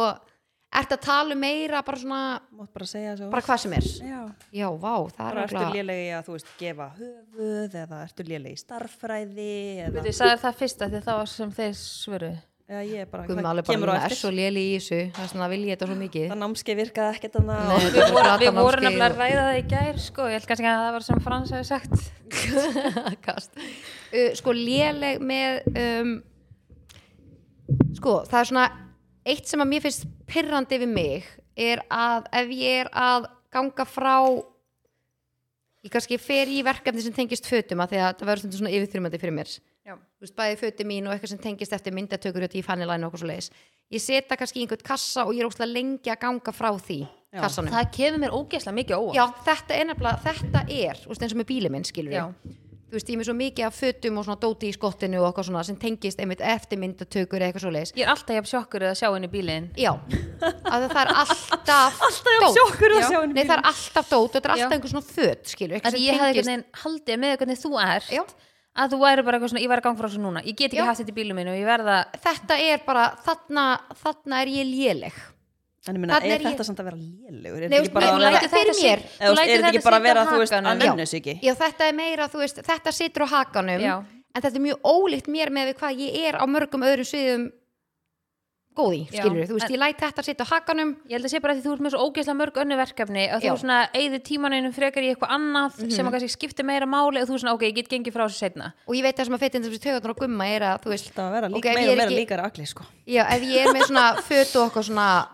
B: ertu að tala um meira bara svona,
A: Mátt bara segja þessu.
B: bara hvað sem er
A: Já.
B: Já, vá, það er
A: Bara ertu
B: nefnilega-
A: léleg í að, þú veist, gefa höfuð eða ertu léleg í starffræði eða,
C: Veitu, ég sagði það fyrst að því það var sem þeir svöru
A: eða ég bara,
B: Guðmund alveg bara, hún er svo léli í þessu það er svona að vilja þetta svo mikið
A: Það námskeið virkaði ekkert þannig
B: Nei,
A: að
B: þetta
C: Við
B: er bara
C: vorum, við
B: glatan
C: vorum
B: námskeið
C: nefnilega að ræða það í gær sko, ég held kannski að það var sem Frans hefði sagt
B: og- Kast. Uh, sko léleg með um, sko það er svona eitt sem að mér finnst pirrandi við mig er að ef ég er að ganga frá ég kannski fer í verkefni sem tengist fötum að því að það verður stundum svona yfirþyrmandi fyrir mér
C: Já.
B: þú veist, bæði fötum mín og eitthvað sem tengist eftir myndatökur hjá fannilæn og eitthvað svo leiðis ég seta kannski í einhvern kassa og ég er óslega lengi að ganga frá því
A: Já.
B: kassanum
C: Það kemur mér ógeðslega mikið óvart
B: já, þetta er nefnilega, þetta er þú veist, eins og með bílið minn, skilur
C: Já.
B: þú veist, ég er með svo mikið af fötum og svona dóti í skottinu og eitthvað svona sem tengist einmitt eftirmyndatökur eða eitthvað svo leiðis
C: Ég er alltaf jafn sjokkur að sjá henni bílinn
B: já, að það er alltaf alltaf
A: jafn sjokkuð að sjá hann í
B: nei, það er alltaf dót, þetta er
C: Já.
B: alltaf einhver svona föt skilur,
C: Að
B: eitthvað
C: ég hefði
B: sem
C: einhvern veginn haldið með hvernig þú ert
B: Já.
C: að þú væri bara eitthvað svona, ég væri að ganga frá þessu núna ég get ekki
B: Já.
C: haft þetta í bílum minn og ég verða
B: tengist þetta er bara, þarna þarna er ég léleg
A: En ég meina,
B: Þarna
A: er
B: er ég-
A: þetta samt að vera lélegur? Er
B: Nei,
A: þetta ekki
B: þú-
A: bara
B: nei,
A: að
B: þú
A: vera-
B: lætur þetta fyrir mér.
A: Eða, þú veist, er þetta ekki bara að vera, þú veist, að
B: Já.
A: nennu sig ekki?
B: já, þetta er meira, þú veist, þetta situr á hakanum
C: Já.
B: en þetta er mjög ólíkt mér með við hvað ég er á mörgum öðrum sviðum góði,
C: Já.
B: skilur þú veist,
C: En-
B: ég læt þetta situr á hakanum
C: Ég held að sé bara að því þú ert með svo ógeðslega mörg önnu verkefni og þú
B: Já. Mhm.
C: svona eigðir tímaninu frekar í eitthvað annað sem að kannski skiptir meira máli og þú svona, ok, ég get gengið frá þessu setna
B: og ég veit það sem að fytinn þessu taugarnar og gumma er að þú veist,
A: Alltaf að vera líka,
B: Ok, ef
A: okay,
B: ég
A: meira,
B: er
A: meira
B: ekki-
A: líkar allir, sko.
B: já, ef ég er með svona fötu og okkur svona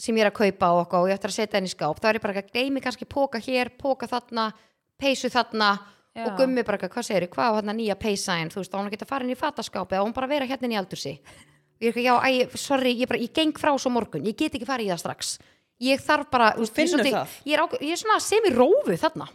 B: sem ég er að kaupa og okkur og ég ætti að setja henni í skáp þá er ég bara að gleymi kannski póka hér, póka þarna peysu þarna
C: Já.
B: og gummi bara eitthvað, hvað segir þið, hvað á þarna nýja peysa henn þú veist, þá hún geta farin í fataskápi þá hún bara vera hérna inn í aldursi og ég er eitthvað, já, æ, sorry, ég, bara, ég geng frá svo morgun ég get ekki farið í það strax ég þarf bara, þú ég,
A: finnur
B: er svolítið-
A: það?
B: ég, er ákveð- ég er svona sem í rófu þarna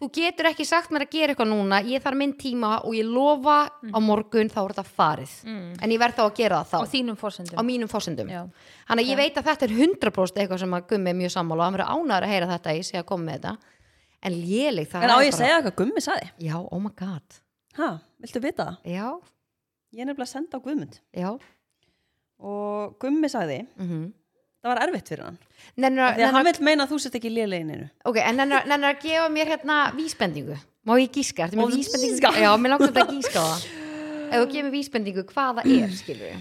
B: þú getur ekki sagt mér að gera eitthvað núna ég þarf minn tíma og ég lofa á morgun þá er þetta farið en ég verð þá að gera það
C: á
B: þá
C: þínum
B: á
C: forsendum
B: mínum fósendum
C: Já.
B: þannig að ég veit að þetta er 100% eitthvað sem að gummi er mjög sammála og hann verður ánæður að heyra þetta að ég sé að koma með þetta en léleg það
A: En á
B: er
A: ég að segja hvað Gummi saði?
B: já, oh my god
A: Ha, viltu vita það?
B: já,
A: Ég er nefnilega að senda á Guðmund
B: já
A: og Gummi sagði,
B: mm -hmm.
A: það var erfitt fyrir hann.
B: nennar,
A: Því að hann vil meina að þú sért ekki léleginu.
B: Ok, en nennar, nennar að gefa mér hérna vísbendingu Má ég gíska? Ertu
A: Má
B: með
A: þú
B: vísbendingu?
A: gíska?
B: Já, mér langt að gíska á það Ef þú gefur mér vísbendingu, hvað það er, skilur við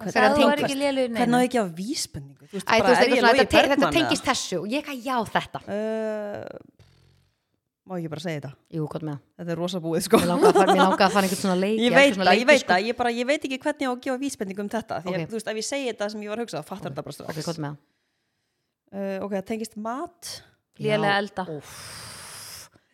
C: Það
B: Þegar
C: þú er
B: tengist.
C: ekki lélugur
A: Hvernig á ég ekki að vísbendingu? Þú veist,
B: Æ, þú veist, eitthvað svona,
A: Logi
B: þetta, te þetta
A: Bergmann
B: tengist þessu og ég eitthvað já þetta
A: eða? Uh, Má ég ekki bara segja þetta?
B: Jú, hvað með það?
A: Þetta er rosa búið, sko.
B: Mér langaði að fara, mér langaði að fara einhvern svona leik
A: Ég veit það,
B: svona leiki,
A: ég veit
B: sko.
A: það, ég, bara, ég veit ekki hvernig ég á að gefa vísbendingu um þetta. Því að,
B: Ok.
A: þú veist, ef ég segi þetta sem ég var að hugsa, þá fattar þetta bara strax.
B: Ok, hvað með það?
A: Uh, ok, það tengist mat.
C: Lélega
B: Já,
C: elda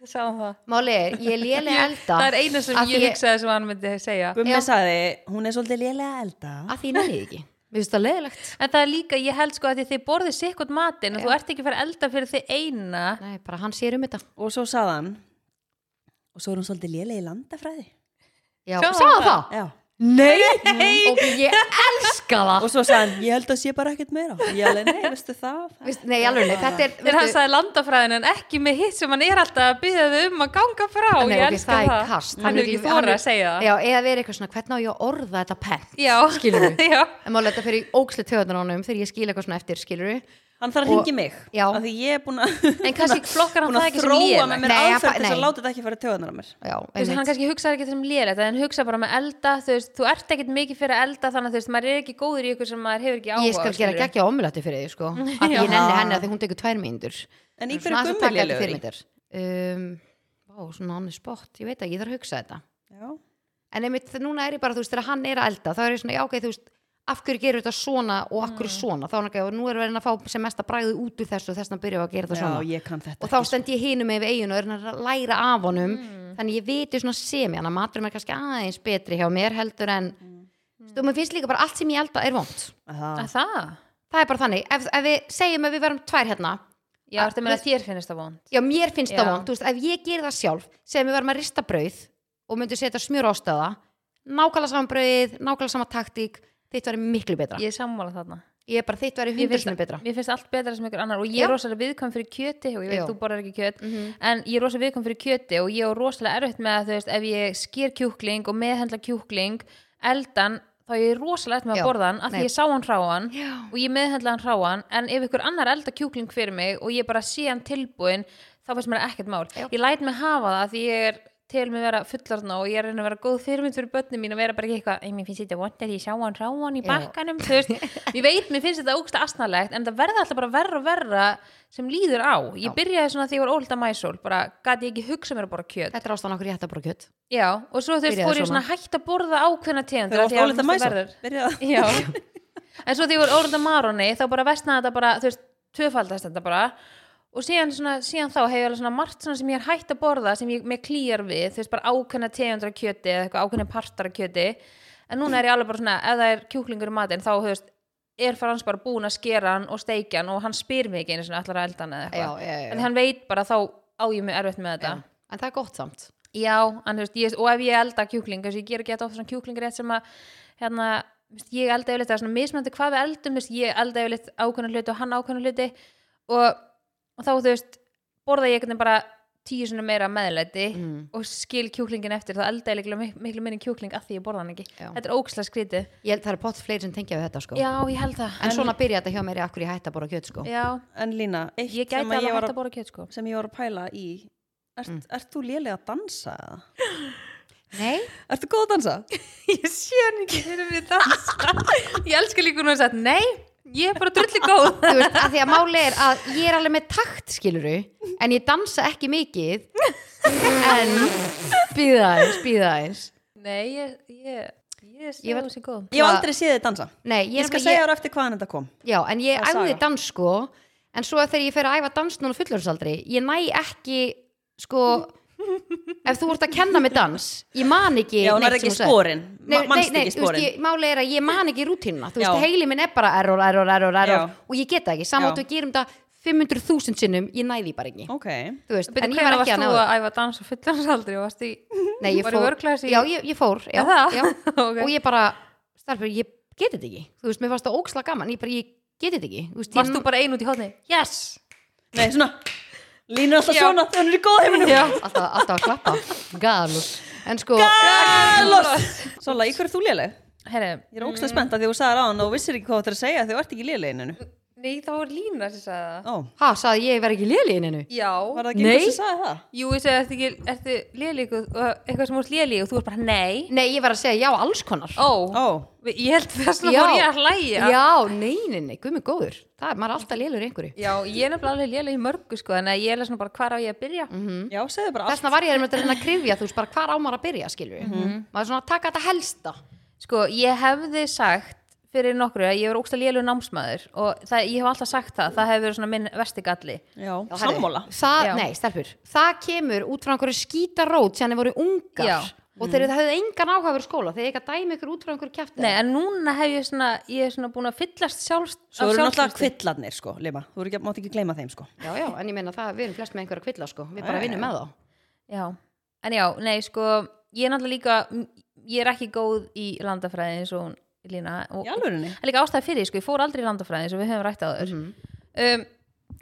C: Ég sá það
B: Máli er, ég er lélega elda
C: Það er eina sem
B: Af því
C: ég hugsaði sem hann myndi segja
A: Gummi
B: Já. Ah.
A: sagði, hún er svolítið lélega að elda.
B: Af því ég nefnir ekki Mér finnst það leðilegt
C: En það er líka, ég held sko að því þið borðið sikkert matinn og þú ert ekki að fara að elda fyrir þið eina
B: Nei, bara hann sér um þetta
A: Og svo sagði hann, og svo er hún svolítið lélega í landafræði.
B: Já,
C: Sjáðu
B: sagði
C: það?
B: það?
A: Já.
B: Nei, Og ég elska það
A: Og svo sagði hann, ég held að sé bara ekkert meira. Ég alveg, nei, veistu það?
B: Veist- Nei, alveg, nei, þetta er
C: Þegar hann
B: veistu-
C: sagði landafræðin en ekki með hitt sem hann er alltaf að byggja þau um að ganga frá
B: Nei,
C: Ég
B: ok,
C: elska
B: það er
C: það
B: kast. Hann
C: Hann
B: er
C: er ekki
B: líka- hann
C: þóra
B: er-
C: að segja það
B: Já, eða verið eitthvað svona, hvernig á ég að orða þetta pent
C: Já,
B: Skilur við
C: Já.
B: En málega þetta fyrir ókslega töðunar ánum þegar ég skil eitthvað svona eftir, skilur við
A: Hann þarf að
B: Og-
A: ringi mig.
B: Já.
A: Af því ég er búin að...
C: En kannski flokkar hann
A: búin
C: það
A: að
C: ekki sem
A: þróa
C: lélegt.
A: með mér
B: Nei, hann
A: aðferð
B: fa-
A: til þess að
B: nei.
A: láta þetta ekki fara töðunar á mér.
B: Já,
C: Þú veist, hann
B: einmitt.
C: kannski hugsaði ekki sem lélegt en hann hugsa bara með elda, þú veist, þú ert ekkert mikið fyrir að elda þannig að þú veist, maður er ekki góður í ykkur sem maður hefur ekki áhuga
B: Ég skal
C: á,
B: gera
C: skilurðu.
B: geggja omulati fyrir þig, sko Af því
C: Já.
B: ég nenni henni að því hún tekur tvær mínútur
A: En í
B: Svona
A: hverju gummi
B: aðeins að taka þetta
A: lélegur
B: fyrir
A: í?
B: mér. Um, Vá, svona annir spott, ég veit ekki, ég þarf að hugsa þetta
A: Já.
B: En einmitt, þegar núna er ég bara, þú veist, þegar hann er að elda þá er ég svona, já, ok, þú veist, af hverju gerur þetta svona og af hverju svona, þá er hann ekki, og nú erum við að reyna að fá sem mesta bræðu út úr þessu og þess vegna byrjum við að gera þetta
A: Já,
B: svona
A: ég sko. kann þetta
B: og þá stend ég hinum með eiginu og er hann að læra af honum þannig ég viti svona sem ég hann að maturum er kannski aðeins betri hjá mér heldur en mm. og mér finnst líka bara allt sem ég elda er vond
A: Það
C: Að Það?
B: það er bara þannig, ef, ef við segjum að við verum tvær hérna,
C: Já, ertu með að þér finnst það vond
B: já mér finnst
C: Já.
B: það vond þú veist, ef ég gerir það sjálf, segjum við verum að rista brauð og myndum setja smjur ástöða nákvæmlega saman brauðið, nákvæmlega saman taktík þitt væri miklu betra ég,
C: Ég er sammála þarna
B: er bara þitt væri
C: Mér
B: hundur
C: finnst,
B: sinni betra
C: mér finnst allt betra sem ykkur annar og ég
B: Já.
C: er rosalega viðkvæm fyrir kjöti og ég veit
B: Já.
C: þú borðar ekki kjöt
B: Mhm.
C: en ég er rosalega viðkvæm fyrir kjöti og ég er rosalega erfitt með að þú veist ef ég sker kjúkling og meðhendla kjúkling eldan þá er ég rosalega erfitt með
B: Já.
C: að borða hann af því
B: Nei.
C: ég sá hann hráan
B: Já.
C: og ég meðhendla hann hráan en ef ykkur annar elda kjúkling fyrir mig og ég bara sé hann tilbúin þá finnst mér það ekkert mál
B: Já.
C: ég læt mig hafa það af því ég er til mig vera fullarna og ég er að reyna að vera góð fyrirmynd fyrir börnum mín og vera bara ekki eitthvað "Æ, mér finnst þetta vond að ég sjá hann ráan í
B: Já.
C: bakka bankanum þú veist, ég veit, mér finnst þetta ógsta asnalegt en það verða alltaf bara verra og verra sem líður á, ég
B: Já.
C: byrjaði svona því ég var ólta mæsól, bara gæti ég ekki hugsa mér að borða kjöt
B: þetta er ástæðan okkur ég ætti að bara kjöt
C: já, og svo þú veist,
B: Byrjaði
C: fór ég
B: svona.
C: svona hægt að borða ákveðna tegund
A: Þegar þú ert ólita mæsa Byrja að
C: já, en svo því ég var ólta maroni þá bara vestnaði þetta bara, þú veist tvöfaldast þetta bara og síðan, svona, síðan þá hefur ég alveg svona margt svona sem ég er hægt að borða sem ég með klýjar við, þú veist bara ákveðna tegundra kjöti eða eitthvað ákveðna partar af kjöti en núna er ég alveg bara svona, ef það er kjúklingur í matinn þá, þú veist, er Frans bara búin að skera hann og steikja hann og hann spyr mig ekki einu svona allar að elda hann
B: já,
C: eða eitthvað
B: já, já,
C: en hérna-
B: já.
C: hann veit bara þá á ég mig erfitt með þetta
B: Já. en það er gott samt
C: Já, en, þú veist, ég, og ef ég elda kjúkling þess, ég ger ekki þetta ofta svona kjúklingarétt sem að hérna, þú veist, ég elda yfirleitt það er svona mismunandi hvað við eldum, þú veist, ég elda yfirleitt ákveðna hluti og hann ákveðna hluti og, og þá, þú veist, borða ég einhvern veginn bara tíu svona meira meðlæti
B: mm.
C: og skil kjúklingin eftir, þá elda ég líklega mik- miklu minni kjúkling að því ég borða hann ekki
B: Já.
C: Þetta er ókslega skrítið
B: Ég held það er pott fleiri sem tengja við þetta sko
C: Já, ég held það
B: En svona byrja þetta hjá mér í akkur ég hætti að bora kjöt sko
C: Já,
A: En Lína, eitt
C: ég
A: sem, að
C: gæti alveg
A: ég var
C: hægt
A: að,
C: að borða kjöt sko
A: sem ég var að pæla í Ert, ert þú lélega að dansa? eða?
B: Nei,
A: Ertu góð að dansa?
C: Ég sé hann ekki fyrir við dansa Ég elska líka hún að sagt, nei, ég er bara drulli góð
B: þú veist, að því að máli er að ég er alveg með takt skiluru En ég dansa ekki mikið En býða eins, býða eins
C: Nei, ég, ég, ég sé
B: Ég var-
C: þú sem góð.
A: Ég hef
B: Hva-
A: aldrei séð þið dansa
B: Nei, ég,
A: Ég
B: er
A: skal
B: nefnilega-
A: segja þér eftir hvaðan þetta kom
B: Já, en ég
A: Það er
B: æfði
A: saga.
B: dans sko En svo þegar ég fer að æfa dans núna á fullorðsaldri Ég næ ekki sko Ef þú ert að kenna mig dans Ég man ekki
A: Já, hún
B: neitt
A: er
B: sem
A: ekki
B: þú sagðir.
A: sporin
B: Nei, nei,
A: Manst ekki
B: nei, þú veist,
A: sporin
B: ég, máli er að ég man ekki rútínuna þú veist,
A: Já.
B: heili minn er bara error, error, error, error
A: Já.
B: og ég geta ekki, saman
A: Já.
B: áttu að gerum það 500.000 sinnum, ég næði bara ekki
A: Ok
B: þú veist,
C: Byrju,
B: en ég
C: hvenær
B: var ekki
C: varst
B: að
C: þú
B: náða
C: að æfa dans á fullorðsaldri og varst í...
B: nei, ég
C: Var í
B: fór,
C: vörglas í-
B: já, ég, ég fór já,
C: Er það?
B: já.
C: Ok.
B: og ég bara, starfur, ég geti þetta ekki þú veist, mér fannst það óksla gaman, ég bara, ég geti þetta ekki þú veist,
C: Varst
B: ég,
C: þú bara ein út í hóðni? Yes!
A: Nei, svona Lína er alltaf
C: Já.
A: svona, þannig er í góð heiminum
C: Já.
B: alltaf, alltaf að klappa galus, en sko
A: Galos Sola, í hverju ert þú léleg?
C: Herri,
A: Ég er ókslega spennt að því þú sagði ráðan og þú vissir ekki hvað þú ættir að segja því þú ert ekki léleg inninu
C: Nei, það var lína sem sagði það
A: Ó,
B: ha, sagði ég verð ekki léli inninu
C: Já,
A: var það ekki
B: Nei.
A: einhver sem sagði það?
C: jú, ég segi, ertu, ekki- ertu lélíku eitthvað sem úr lélíku og þú er bara nei
B: nei, ég verð að segja já, alls konar
C: Ó,
A: Ó,
C: ég held þess að
B: Já.
C: fór ég að hlæja
B: já, nei, nei, nei, guð mig góður það er maður er alltaf lélur í einhverju
C: Já, ég er nefnilega alveg lélega í mörgu sko en ég er alveg svona bara hvar á ég að byrja
B: Mhm.
A: já, segðu bara allt
B: þessna var ég einmitt að reyna að krifja þú veist bara hvar á maður að byrja skilur maður er svona að taka þetta helsta
C: Sko, ég hefði sagt fyrir nokkru að ég er ógsta lélega námsmaður og það, ég hef alltaf sagt það, það hefur verið svona minn vesti galli
A: Já,
B: Já, herri,
A: sammála
B: það,
C: Já.
B: nei, stelpur, það kemur út frá einhverju skítarót sem þeir voru ungar
C: Já.
B: og þeir mm. höfðu engan áhuga fyrir skóla þeir ekki að dæmi ykkur út frá einhverju kjæfti
C: Nei, en núna hef ég svona, ég er svona búin að fyllast sjálfst
A: Svo
C: af
A: eru náttúrulega
C: sjálfstrausti.
A: kvillarnir sko, Lima Þú eru ekki, mátt ekki gleyma þeim sko
B: já, já, en ég meina það, við erum flest með einhverja kvilla sko. við bara
A: Nei.
B: vinnum með þá
C: Já, en já, nei, sko ég er náttúrulega líka, ég er ekki góð í landafræði eins og hún Lína, og
A: Í alvörinni,
C: það er líka ástæði fyrir, því, sko ég fór aldrei í landafræði eins og við höfum rætt á þur
A: Mhm.
C: um,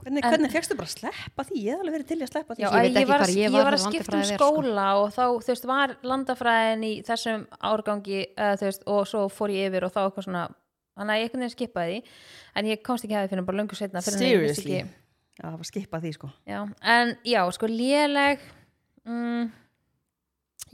A: hvernig, hvernig fegstu bara að sleppa því? Ég hef alveg verið til í að sleppa því sko.
C: já,
B: Ég veit
C: ég,
B: ekki
C: var,
B: hvar
C: að-
B: ég
C: ég
B: var
C: var að
B: þegar
C: skipta um
B: landafræði er, sko.
C: skóla og þá, þú veist, var landafræðin í þessum árgangi uh, þú veist, og svo fór ég yfir og þá eitthvað svona þannig að ég einhvern veginn skipaði því en ég komst ekki að því fyrir bara löngu setna
A: Seriously Já, það var skipa því sko
C: já, en já, sko léleg mm,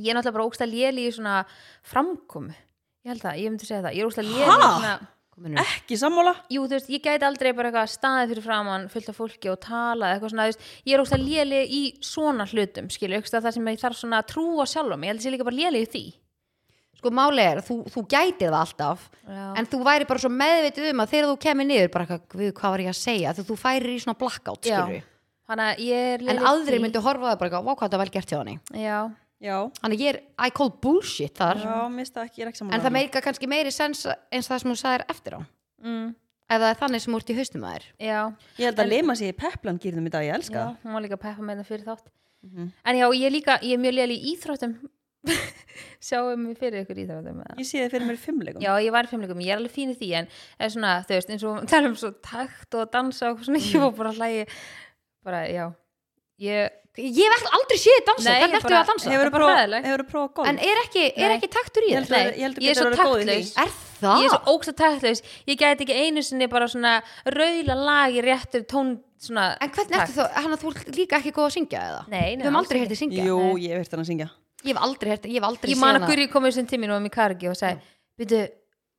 C: ég er náttúrulega bara ógsta léli í svona framkomu ég held það, ég myndi segja það ég er ógsta léli
A: Ha?
C: svona,
B: Komin upp.
A: Ekki sammála?
C: jú, þú veist, ég gæti aldrei bara eitthvað staðið fyrir framann fullt af fólki og tala eitthvað svona, þú veist, ég er ógsta léli í svona hlutum, skilju, auksta það sem ég þarf svona að trúa sjálf á mig, ég held að ég sé líka bara léli í því
B: sko máli er að þú, þú gætir það alltaf
C: Já.
B: en þú væri bara svo meðvitið um að þegar þú kemur niður bara eitthvað, "Guð, hvað var ég að segja þú, þú færir í svona blackout skilur
C: þannig að ég er léli
B: en
C: í
B: aðrir
C: því.
B: myndu horfa á það bara eitthvað, "Vá, hvað það vel gert hjá hann
C: já,
A: Já,
B: þannig að ég er, I call bullshit þar
A: já, mista ekki, ég er ekki sammála
B: en það meika kannski meiri sens eins og það sem þú sagðir eftir á
C: mm,
B: ef það er þannig sem úr til haustum að þér
C: já
A: Ég held að Lima sé í peplan gýrðum í dag, ég elska það
C: Já, hún var líka peppa með það fyrir þátt En já, ég er líka, ég er mjög lél í íþróttum Sjáum við fyrir ykkur í íþróttum eða?
A: Ég sé þið fyrir mér í fimmleikum
C: Já, ég var í fimmleikum, ég er alveg fín í því En er svona, þau veist, eins og tala um svo takt og dansa og svona Ég var bara að hlægi Bara, já Ég,
B: ég hef all- aldrei séð þið dansa,
C: Nei,
B: hvernig
C: ég
B: ertu
C: bara-
B: að dansa
C: Hefur-
A: Hefurðu
C: bara
A: prófað
C: hræðilegt.
A: hefurðu prófað golf?
B: en er ekki, er
C: Nei.
B: ekki taktur í
A: Ég
B: þér
A: held að- ég held að
C: ég er
A: Petra
C: svo
A: verið góð í því.
C: taktlaus
B: er það?
C: Ég er svo ógsta taktlaus Ég gæti ekki einu sinni bara svona Raula lag í réttum tón svona,
B: en hvernig ertu
C: takt.
B: þó, hann að þú ert líka ekki góð að syngja eða?
C: Nei, nei,
B: við hefum
C: alls
B: aldrei
C: ekki.
B: hértið syngja
A: Jú, ég hef hirt hann að syngja
B: ég hef aldrei hértið, ég hef aldrei
C: Ég
B: séð
C: man að
B: hana.
C: hverju komið sem tíminn og var mér kargi og sagði Býtu,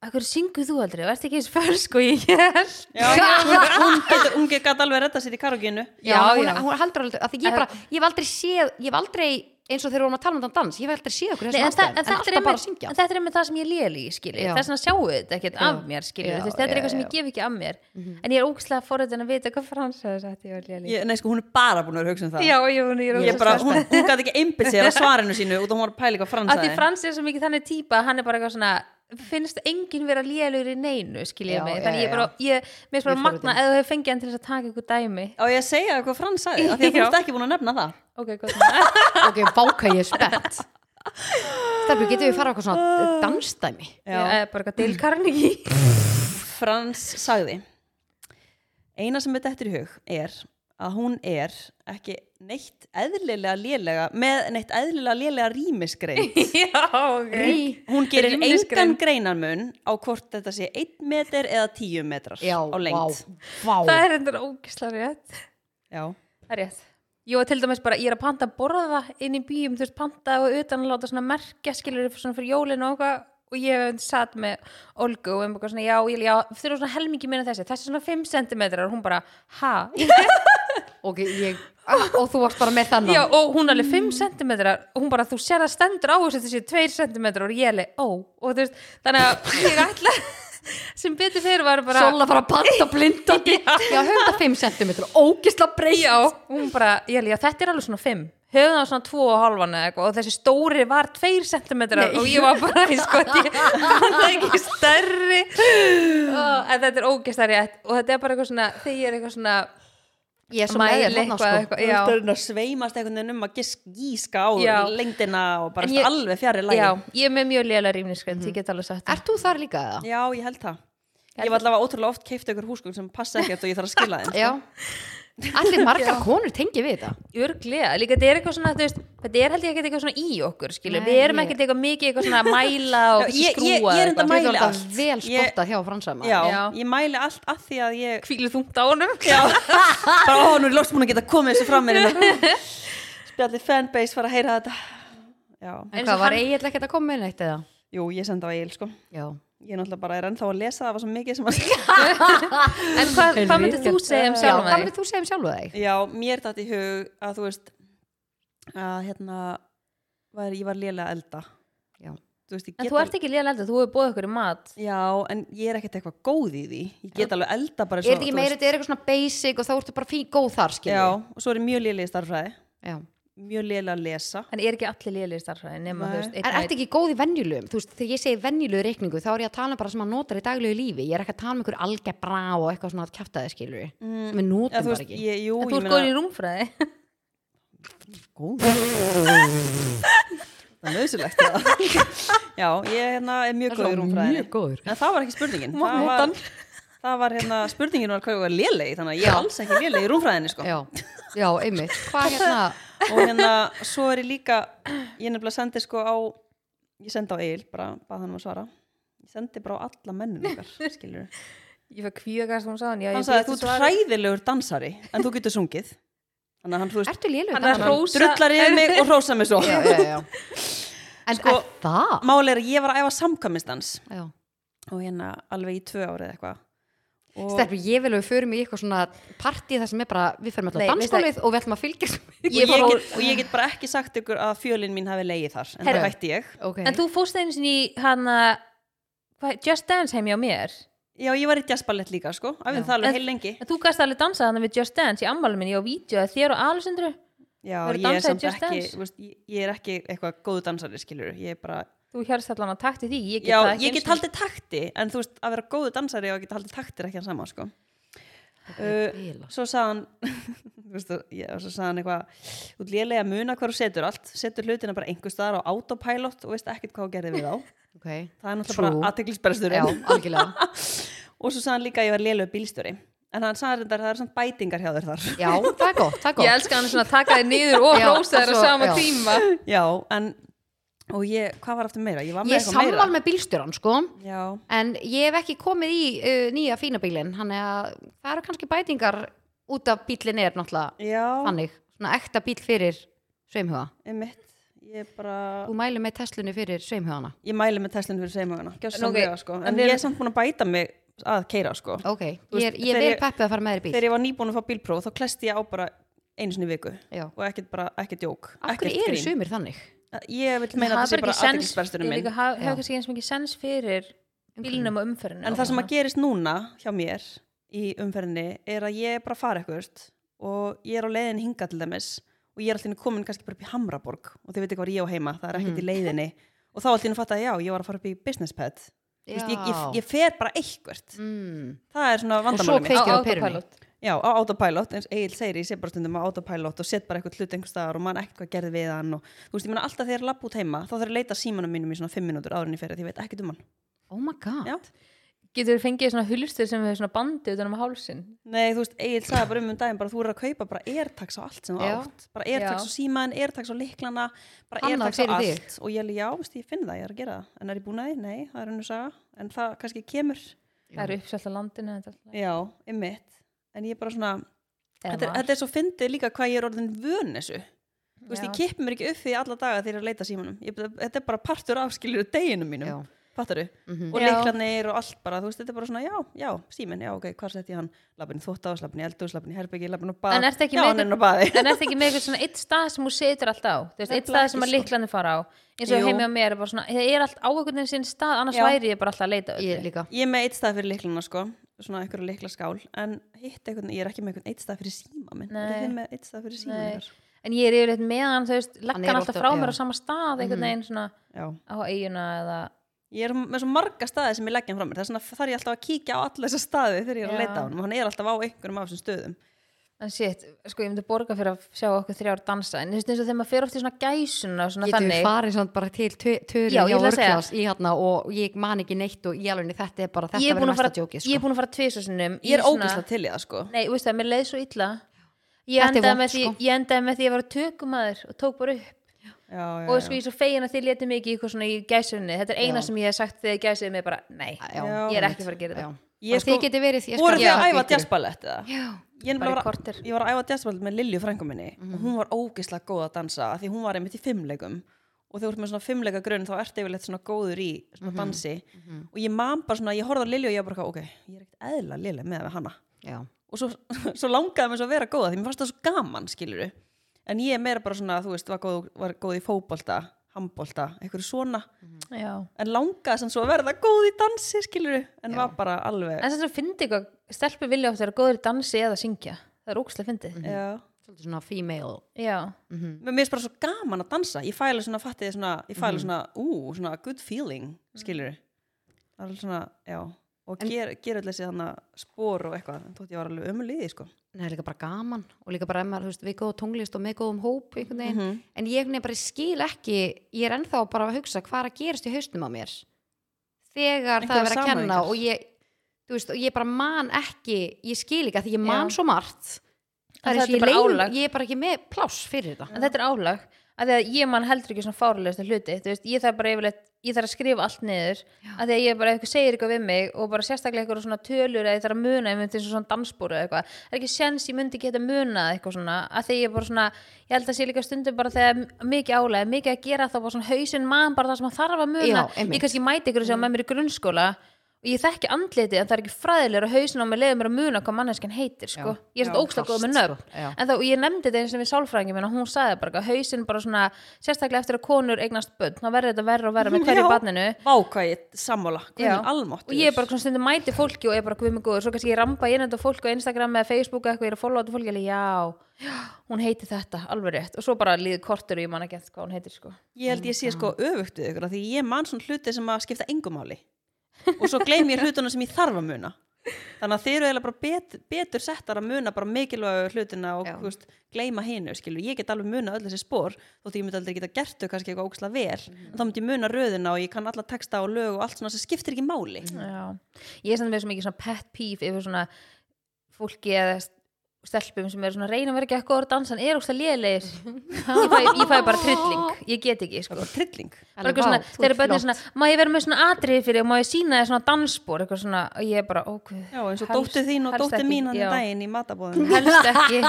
C: að hverju syngu þú aldrei? Verst ekki eins fölsk og ég er
A: Já, hún- hún getur, hún getur gæti alveg að redda sér í karokinu
B: já,
C: Já,
B: hún,
C: já.
B: hún heldur aldrei, af því ég bara ég hef aldrei séð, ég hef aldrei eins og þegar við vorum að tala um þann dans, ég hef aldrei séð okkur í
C: Nei,
B: þessum
C: en, þa
B: aðstæðum,
C: en,
B: en
C: þetta er
B: alltaf bara að
C: einmitt-
B: syngja
C: en þetta er með það sem ég léli í skilju
B: Já.
C: þess vegna sjáu þetta ekkert af mér skilju
B: Já,
C: Þú
B: já,
C: veist, þetta
B: Mhm.
C: er eitthvað sem ég gef ekki af mér en ég er ógæslega forðin að vita hvað frans hefði sagt ég var léli
A: ég, Nei, sko, hún er bara búin að vera að hugsa um það
C: já, já, hún er
A: Ég bara, hún, hún gæti ekki einbytt sér að svarinu sínu út og hún var að pæla hvað Frans
C: að því
A: sagði.
C: frans er svo mikið þannig típa að hann er bara eitthvað svona finnst enginn vera lélugur í neinu skilju
B: Já,
C: mig,
B: já,
C: þannig ég
B: já.
C: bara, ég, mér er bara
B: Mjög
C: magna ef þú hefur fengið hann til þess að taka ykkur dæmi
A: Á ég að segja þér hvað Frans sagði, af því að þú
C: Já.
A: ert ekki búin að nefna það
C: ok, gott
B: ok, báka ég er spennt Stefnir, getum við fara á eitthvað svona dansdæmi?
C: Ég er bara eitthvað Dale Carnegie
A: Frans sagði Eina sem þetta eftir í hug er að hún er ekki neitt eðlilega lélega með neitt eðlilega lélega rýmisgrein
C: já, ok
A: hún gerir
C: Rýmisgrein.
A: engan greinarmun á hvort þetta sé 1 metr eða 10 metrar
B: Já,
A: á lengt
B: vá, vá.
C: það er endur ógæslega rétt
A: Já.
C: Það er rétt. Ég var til dæmis bara, ég er að panta að borða inn í býjum, þú veist, panta og utan að láta svona merkja, skilur þið svona fyrir jólinu og eitthvað og ég hef satt með Olgu og um eitthvað svona, já, ég, já, þau eru svona helmingi minna þessi, þessi er svona 5 cm og hún bara, ha?
B: Ok, ég, ah, og þú varst bara með þannig
C: Já, og hún alveg 5 cm og hún bara, þú sér það stendur á þessu þessi 2 cm og ég alveg, ó, og þú veist, þannig að ég ætla, sem betur fyrir var bara,
B: Sola fara að panta blindandi Já, höfða 5 cm, ógisla breytt
C: Já, hún bara, ég held, já, þetta er alveg svona 5 höfum það svona 2 og halvan eða eitthvað og þessi stóri var 2 cm og ég var bara í skoti hann er ekki stærri Ó, en þetta er ógeðslega rétt og þetta er bara eitthvað svona, þegar ég er eitthvað svona
B: Ég er svo með
C: mæli
B: þér þarna,
C: eitthvað,
B: sko
C: eitthvað,
A: Þú ert að
C: já
A: reyna að sveimast einhvern veginn um að gisk, gíska á
C: Já.
A: lengdina og bara
C: En
A: ég,
C: ég-
A: alveg fjari lægi
C: Já, ég er með mjög lélega rýmniskrend, ég get alveg sagt það.
B: Ert þú þar líka eða?
A: Já, ég held það. Ég var allavega ótrúlega oft keift ykkur húsgögn sem passa ekkert og ég þarf að skila þeim. sko.
B: Já, allir margar konur tengi við þetta
C: Örglega, líka þetta er eitthvað svona, þú veist, þetta er held ég ekkert eitthvað svona í okkur, skilur,
B: Nei,
C: við erum
B: ég-
C: ekkert eitthvað mikið eitthvað svona að mæla og
A: Já, ég-
C: þessi
A: ég-
C: skrúa
A: ég er
C: eitthvað.
A: enda að
B: Þetta
A: mæli
B: er alltaf
A: allt.
B: vel
A: Ég-
B: spottað hjá fransama
A: já,
C: Já.
A: ég mæli allt að því að ég
C: Hvílu þungt á honum.
A: bara ó, nú er loks múin að geta komið þessu fram með hérna spjallið fanbase fara að heyra þetta já,
B: En
C: Eins
B: hvað,
C: og
B: var
C: hann-
B: eiginlega ekkert að koma með neitt eða?
A: jú, ég sendi á Egil sko
B: Já.
A: ég náttúrulega bara er ennþá að lesa það var svo mikið sem að
C: En hvað,
B: En
C: hvað
B: við-
C: myndir þú segja um
B: Já,
C: sjálfum
B: hvað
C: þig?
B: myndir þú segja um sjálfa þig?
A: já, mér dætt í hug að þú veist að hérna var, ég var lélega að elda
B: Já.
A: þú veist, ég
C: En
A: get
C: þú
A: alveg-
C: ert ekki lélega eldur, þú hefur bóð okkur í mat.
A: já, en ég er ekkert eitthvað góð í því ég get alveg elda bara
B: Er þetta ekki meira, þetta er eitthvað svona basic og þá ertu bara fín góð þar, skilur
A: já, og svo er ég mjög lélega í starffræði
B: Já.
A: mjög lélega að lesa
C: En er ekki allir lélega í starfræðin nema,
A: Nei.
C: þú veist,
B: En ertu ekki góð í venjulegum? Þú veist, þegar ég segi venjulegu reikningu, þá er ég að tala um bara sem að notar í daglegu lífi. Ég er ekki að tala um einhver algebra og eitthvað svona að kjafta þig, skilur Sem við Mm, notum
A: Eða, Mm. þú
B: bara
A: veist,
B: ekki.
A: ég, jú,
C: En þú
A: ég
C: ert góður í rúmfræði.
A: góð það er nöðsulegt já, ég hérna, er mjög góð í rúmfræðinni
B: góður.
A: en það var ekki spurningin það var,
C: Mótan.
A: það var hérna, spurningin var hvað ég var lélegi þannig að ég er alls ekki lélegi í rúmfræðinni sko.
B: Já, já, einmitt. Hvað hérna?
A: og hérna, svo er ég líka ég nefnilega sendi sko á ég sendi á Egil, bara bað hann um að svara ég sendi bara á alla mennum ykkar skilur
C: Ég fæ kvíðagast hún sagðan, já,
A: hann
C: ég
A: sagði
C: bið
A: þú
C: eftir
A: ert
C: svari.
A: hræðilegur dansari en þú getur sungið þannig að hann, þú veist,
B: Ertu lélugur?
C: Hann er að
A: hann
C: hrósa-
A: drullar yfir mig og hrósa mig svo
B: Já, já, já. En
A: Sko-
B: er það?
A: máli er að ég var að æfa samkvæmistans
B: Já.
A: og hérna alveg í tvö árið eitthvað og
B: Stærpi, ég vil að við förum í eitthvað svona partí þar sem er bara, við förum alltaf
C: Nei,
B: á
C: veistu það-
B: danskólið og við ætlum að fylgjast með.
A: og
C: Ég
A: ég,
C: fór-
A: get, og ég get bara ekki sagt ykkur að fjölin mín hafi leið þar en
B: Herru.
A: það hætti ég
B: Okay.
C: En þú fórst einu sinni í hana, hvað, Just Dance heim hjá mér.
A: já ég var í jazzballett líka sko
B: Já.
A: æfði það
C: En-
A: alveg heil lengi
C: En þú gæst alveg dansað hana við Just Dance í ammálum minni og vídeo að þér og Alessandru.
A: já ég er
C: Hefurðu dansað í
A: samt
C: Just
A: ekki
C: Dance?
A: þú veist, ég, ég er ekki eitthvað góð dansari skilur ég er bara
C: Þú hérst allan að takti því, ég get
A: já
C: það ekki
A: ég
C: einu
A: get haldið takti en þú veist að vera góð dansari og að geta haldið takti er ekki hann sama sko uh, svo sagði hann þú veist, já, svo sagði hann eitthvað út lélega muna hvar þú setur allt setur hlutina bara einhver staðar á autopilot og veist ekkert hvað þú gerði við á
B: okay.
A: það er náttúrulega
B: True.
A: bara aðteglisberstur
B: Já, algjörlega.
A: og svo sagði hann líka að ég var lélög bílstjóri en hann sagði þetta að það er svona bætingar hjá þér þar
B: Já, það er gott, það er
C: Ég
B: gott.
C: elska hann svona að taka þig niður og
B: Já,
C: rósa þér á
B: svo-
C: sama
B: já.
C: tíma
A: já, en og ég, hvað var aftur meira? ég var með
B: Ég
A: eitthvað meira
B: samval með bílstjóran, sko.
A: já,
B: En ég hef ekki komið í uh, nýja fína bílinn, hann er að það eru kannski bætingar út af bílinn er náttúrulega
A: já,
B: þannig, svona ekta bíl fyrir sveimhuga.
A: einmitt ég bara,
B: Þú mælu með Teslunni fyrir sveimhugana.
A: ég mæli með Teslin fyrir seimugana
C: En
A: okay.
C: ok,
A: sko.
C: en
A: en
C: við-
A: ég er samt búin að bæta mig að keira sko.
B: Ok,
A: Þú
B: ég
A: veist,
B: er, ég er
A: þegar
B: vel
A: ég-
B: peppið að fara með þér í bíl.
A: þegar ég var nýbúin að fá bílpróf þá klesti ég á bara einu sinni í viku
B: Já.
A: og ekkert bara, ekkert jók
B: Af hverju eru sumir þannig?
A: ég vil
C: Það
A: meina að það sé
C: er
A: bara
C: ekki sens-
A: aðteglisbersturinn
C: ég
A: minn
C: líka ha-
B: Já.
C: hefur kannski eins mikið sens fyrir bílnum og umferðinu
A: En það sem að gerist núna hjá mér í umferðinni er að ég er bara að fara eitthvað og ég er á leiðinni hinga til dæmis og ég er alltaf komin kannski bara upp í Hamraborg og þið veit ekki hvað ég á heima, það er ekkert
B: Mhm.
A: í leiðinni og þá alltaf fatt að já, ég var að fara upp í business pad Þú veist, ég, ég, ég fer bara eitthvað
B: Mm.
A: það er svona
B: svo
A: vandamálum
B: kveik-
A: mitt
B: gerist á
C: á autopilot
A: já, á autopilot, eins Egil segir ég sé bara stundum á autopilot og set bara eitthvað hlut einhver staðar og man ekkert hvað gerði við hann og þú veist, ég meina alltaf þegar ég lapp út heima þá þarf ég að leita símanum mínum í svona fimm mínútur árinni fyrir því ég veit ekkert um hann
B: Oh my god.
A: já.
C: getur þú fengið svona hulstur sem hefur svona bandi utan um hálsin
A: Nei, þú veist, Egil sagði bara um um daginn bara þú eru að kaupa bara airtags á allt sem þú
B: Já.
A: átt bara airtags
C: Já.
A: á síman, airtags á liklana bara
B: Annað
A: airtags á
B: fyrir
A: allt
B: þig.
A: og ég alveg, já, veist, ég finn það, ég er að gera það en er ég búin að því? Nei, það er hennu saga en það kannski kemur,
C: það eru uppselt á landinu þetta er alltaf-
A: já, ymmit en ég er bara svona,
C: Eða
A: þetta er,
C: var.
A: þetta er svo fyndið líka hvað ég er orðin vön þessu þú veist,
C: Já.
A: ég kipp mér ekki upp því alla daga þegar ég er að leita símanum ég, þetta er bara partur af skilur deginum mínum
B: Já.
A: fattaru,
B: Mhm.
A: og
C: Mm. Já.
A: leiklanir og allt bara, þú veist, þetta er bara svona, já, já, síminn, já, ok, hvað sett ég hann, lappin í þóttás, lappin í eldús, lappin í herbyggi, lappin á bað,
C: En ertu ekki
A: já,
C: með
A: hann er nú á baði.
C: en er þetta ekki með eitthvað svona eitt stað sem þú setur allt á Þú veist, eitt
A: Nefnilega
C: stað sem að
A: ekki, sko.
C: liklandi fara á eins og
A: Jú.
C: heimja mér er bara svona það er allt á einhvern veginn sinn stað annars
A: Já.
C: væri ég bara alltaf að leita að
B: Ég
C: öllu.
B: líka.
A: Ég er með eitt stað fyrir leiklana, sko, svona einhverja leiklaskál, en hitt einhvern, ég er ekki með einhvern eitt stað fyrir síma minn,
C: Nei.
A: er þið með eitt stað fyrir síma
C: Nei.
A: minn?
C: en ég er yfirleitt með hann þú veist
B: Hann
C: legg
B: er
C: hann
B: oft
C: alltaf
B: á-
C: frá
B: já.
C: mér
B: Mhm.
C: á sama stað einhvern veginn svona
A: Já.
C: á eiguna eða
A: Ég er með svo marga staði sem ég leggja hann frá mér, þess vegna þarf ég alltaf að kíkja á alla þessa staði þegar ég er að
C: Já.
A: leita á hann, og hann er alltaf á einhverjum af þessum stöðum.
C: En shit, sko ég myndi borga fyrir að sjá okkur þrjár dansa en þú veist eins og þegar maður fer oft í svona gæsuna og svona
B: Getum við
C: þannig
B: farið samt bara til tölu
C: Já, ég
B: hjá
C: ætla að segja.
B: orklass í hérna og ég man ekki neitt og ég alveg þetta er bara þetta
C: ég er
B: verður sko.
C: búin að
B: mesta
C: fara,
B: djókið
C: ég er búin að fara tvisasunum
A: Ég er ógæsla til í það, sko.
C: Nei, veist það, mér leið svo illa ég
B: Þetta er
C: endaði,
B: vont,
C: með því,
B: sko.
C: ég endaði með því að vera tökumaður og tók bara upp
A: já, já,
C: og sko ég er svo fegin að þið letið mig ekki í eitthvað svona í gæsunni þetta er eina
B: Já.
C: sem ég hef sagt þegar gæsuði mig bara nei,
B: Já,
C: ég er ekki að fara að gera
B: já.
C: þetta
A: Ég
B: Bara
A: sko-
B: þið geti verið
A: voru þið að
B: Já.
A: æfa jazzballett eða?
B: Já.
A: Ég,
C: bara í
A: var,
C: korter Mhm.
A: ég var að æfa jazzballett með Lilju frængu minni og hún var ógeðslega góð að dansa af því hún var einmitt í fimmleikum og þegar þú ert með svona fimmleika grunn þá ertu yfirleitt svona góður í
C: Mhm,
A: svona dansi og ég man bara svona, ég horfði á Lilju og ég var bara ok, ég er ekkert eðla Lilju með með hana
B: Já.
A: og svo, svo langaði mér svo að vera góða því mér fannst það svo gaman, skilur en ég er meira bara svona, þú veist, var góð, var góð í fótbolta, handbolta, einhverju svona
C: já.
A: en langaði sem svo að verða góð í dansi, skilur en var bara alveg
C: en þess að finna eitthvað, stelpur vilja oft vera góður í dansi eða syngja, það er ógstlega fyndið
A: Já.
B: Svolítið svona female.
C: já, Mhm.
A: mér finnst bara svo gaman að dansa ég fæla svona fattið svona, ég fæla
C: Mhm.
A: svona ú, svona good feeling, skilur það er alveg svona, já og ger, ger allir sér þannig spór og eitthvað en þótt ég var alveg ömulíði, sko
B: Nei, það er líka bara gaman og líka bara ef maður, þú veist, við góða tónlist og með góðum hóp einhvern veginn.
A: Mhm.
B: En ég einhvern veginn bara skil ekki, ég er ennþá bara að hugsa hvað er að gerast í haustum á mér. Þegar
A: Einhverjar
B: það er verið að kenna
A: samhæfingar.
B: og ég, þú veist, og ég bara man ekki, ég skil ekki að því ég man
C: Já.
B: svo margt.
C: En
B: Það er eins
C: þetta
B: og
C: er
B: ég,
C: bara
B: leið,
C: álag.
B: ég er bara ekki með pláss fyrir þetta.
C: en þetta er álag af því að ég mann heldur ekki svona fárulegsta hluti þú veist, ég þarf bara yfirleitt, ég þarf að skrifa allt niður af því að ég bara, ef eitthvað segir eitthvað við mig og bara sérstaklega eitthvað svona tölur eða ég þarf að muna, ég myndi eins og svona dansbúru eða eitthvað það er ekki sens ég myndi geta muna eitthvað svona af því að ég bara svona, ég held að sé líka stundum bara þegar mikið álega, mikið að gera þá bara svona hausinn mann bara það sem að þarf að muna
B: Já, einmitt.
C: ég kannski mæti ykkur sem var með mér í grunnskóla og ég þekki andliti en það er ekki fræðilegur að hausin á mig leiðum mér að muna hvað manneskjan heitir sko.
B: Já,
C: ég er
B: já,
C: þetta ógstlega góð
B: klárt,
C: með nöfn
B: sko, já.
C: en þá, og ég nefndi þetta eins og við sálfræðingum minn og hún sagði bara að hausin bara svona sérstaklega eftir að konur eignast börn þá verður þetta verra og verra með hverju
A: Já.
C: barninu
A: vá hvað ég sammála, hvað
C: Eh. Já.
A: er almáttur
C: og ég er bara svona stundum mæti fólki og ég er bara guð mig góður svo kannski ég ramba inn þetta fólk á Instagram eða Facebook eða eitthvað, ég er að followa þetta fólki alveg, já, já, hún heiti þetta, alveg rétt og svo bara líði kortur og ég man ekki eftir hvað hún heitir sko.
A: ég held ég sé sko öfugt við ykkur af því ég man svona hluti sem að skipta engumáli og svo gleym ég hlutunum sem ég þarf að muna þannig að þeir eru eiginlega bara bet, betur settar að muna bara mikilvægu hlutina og
B: Já.
A: þú veist, gleyma hinu skilur. ég get alveg muna öll þessi spór þótt ég myndi aldrei geta gert þau kannski eitthvað óksla vel en þá myndi ég muna röðina og ég kann alla texta og lög og allt svona sem skiptir ekki máli
C: Já, ég er samt með svo mikið svona pet peeve yfir svona fólki eða st- stelpum sem eru svona að reyna að vera ekki eitthvað að dansa en eru ógst að lélegir ég, fæ- ég fæ bara trilling, ég get
A: það
C: ekki
A: er
C: sko.
A: bara trilling
C: Bara eitthvað svona,
B: þú
C: þeir eru
B: ert
C: bæðið
B: flott.
C: svona má ég vera með svona atriði fyrir og má ég sína þér svona dansbór eitthvað svona, og ég er bara ókvöð
A: já, eins og dóttir þín og dóttir mín hann í daginn í matabóðinu
C: helst ekki,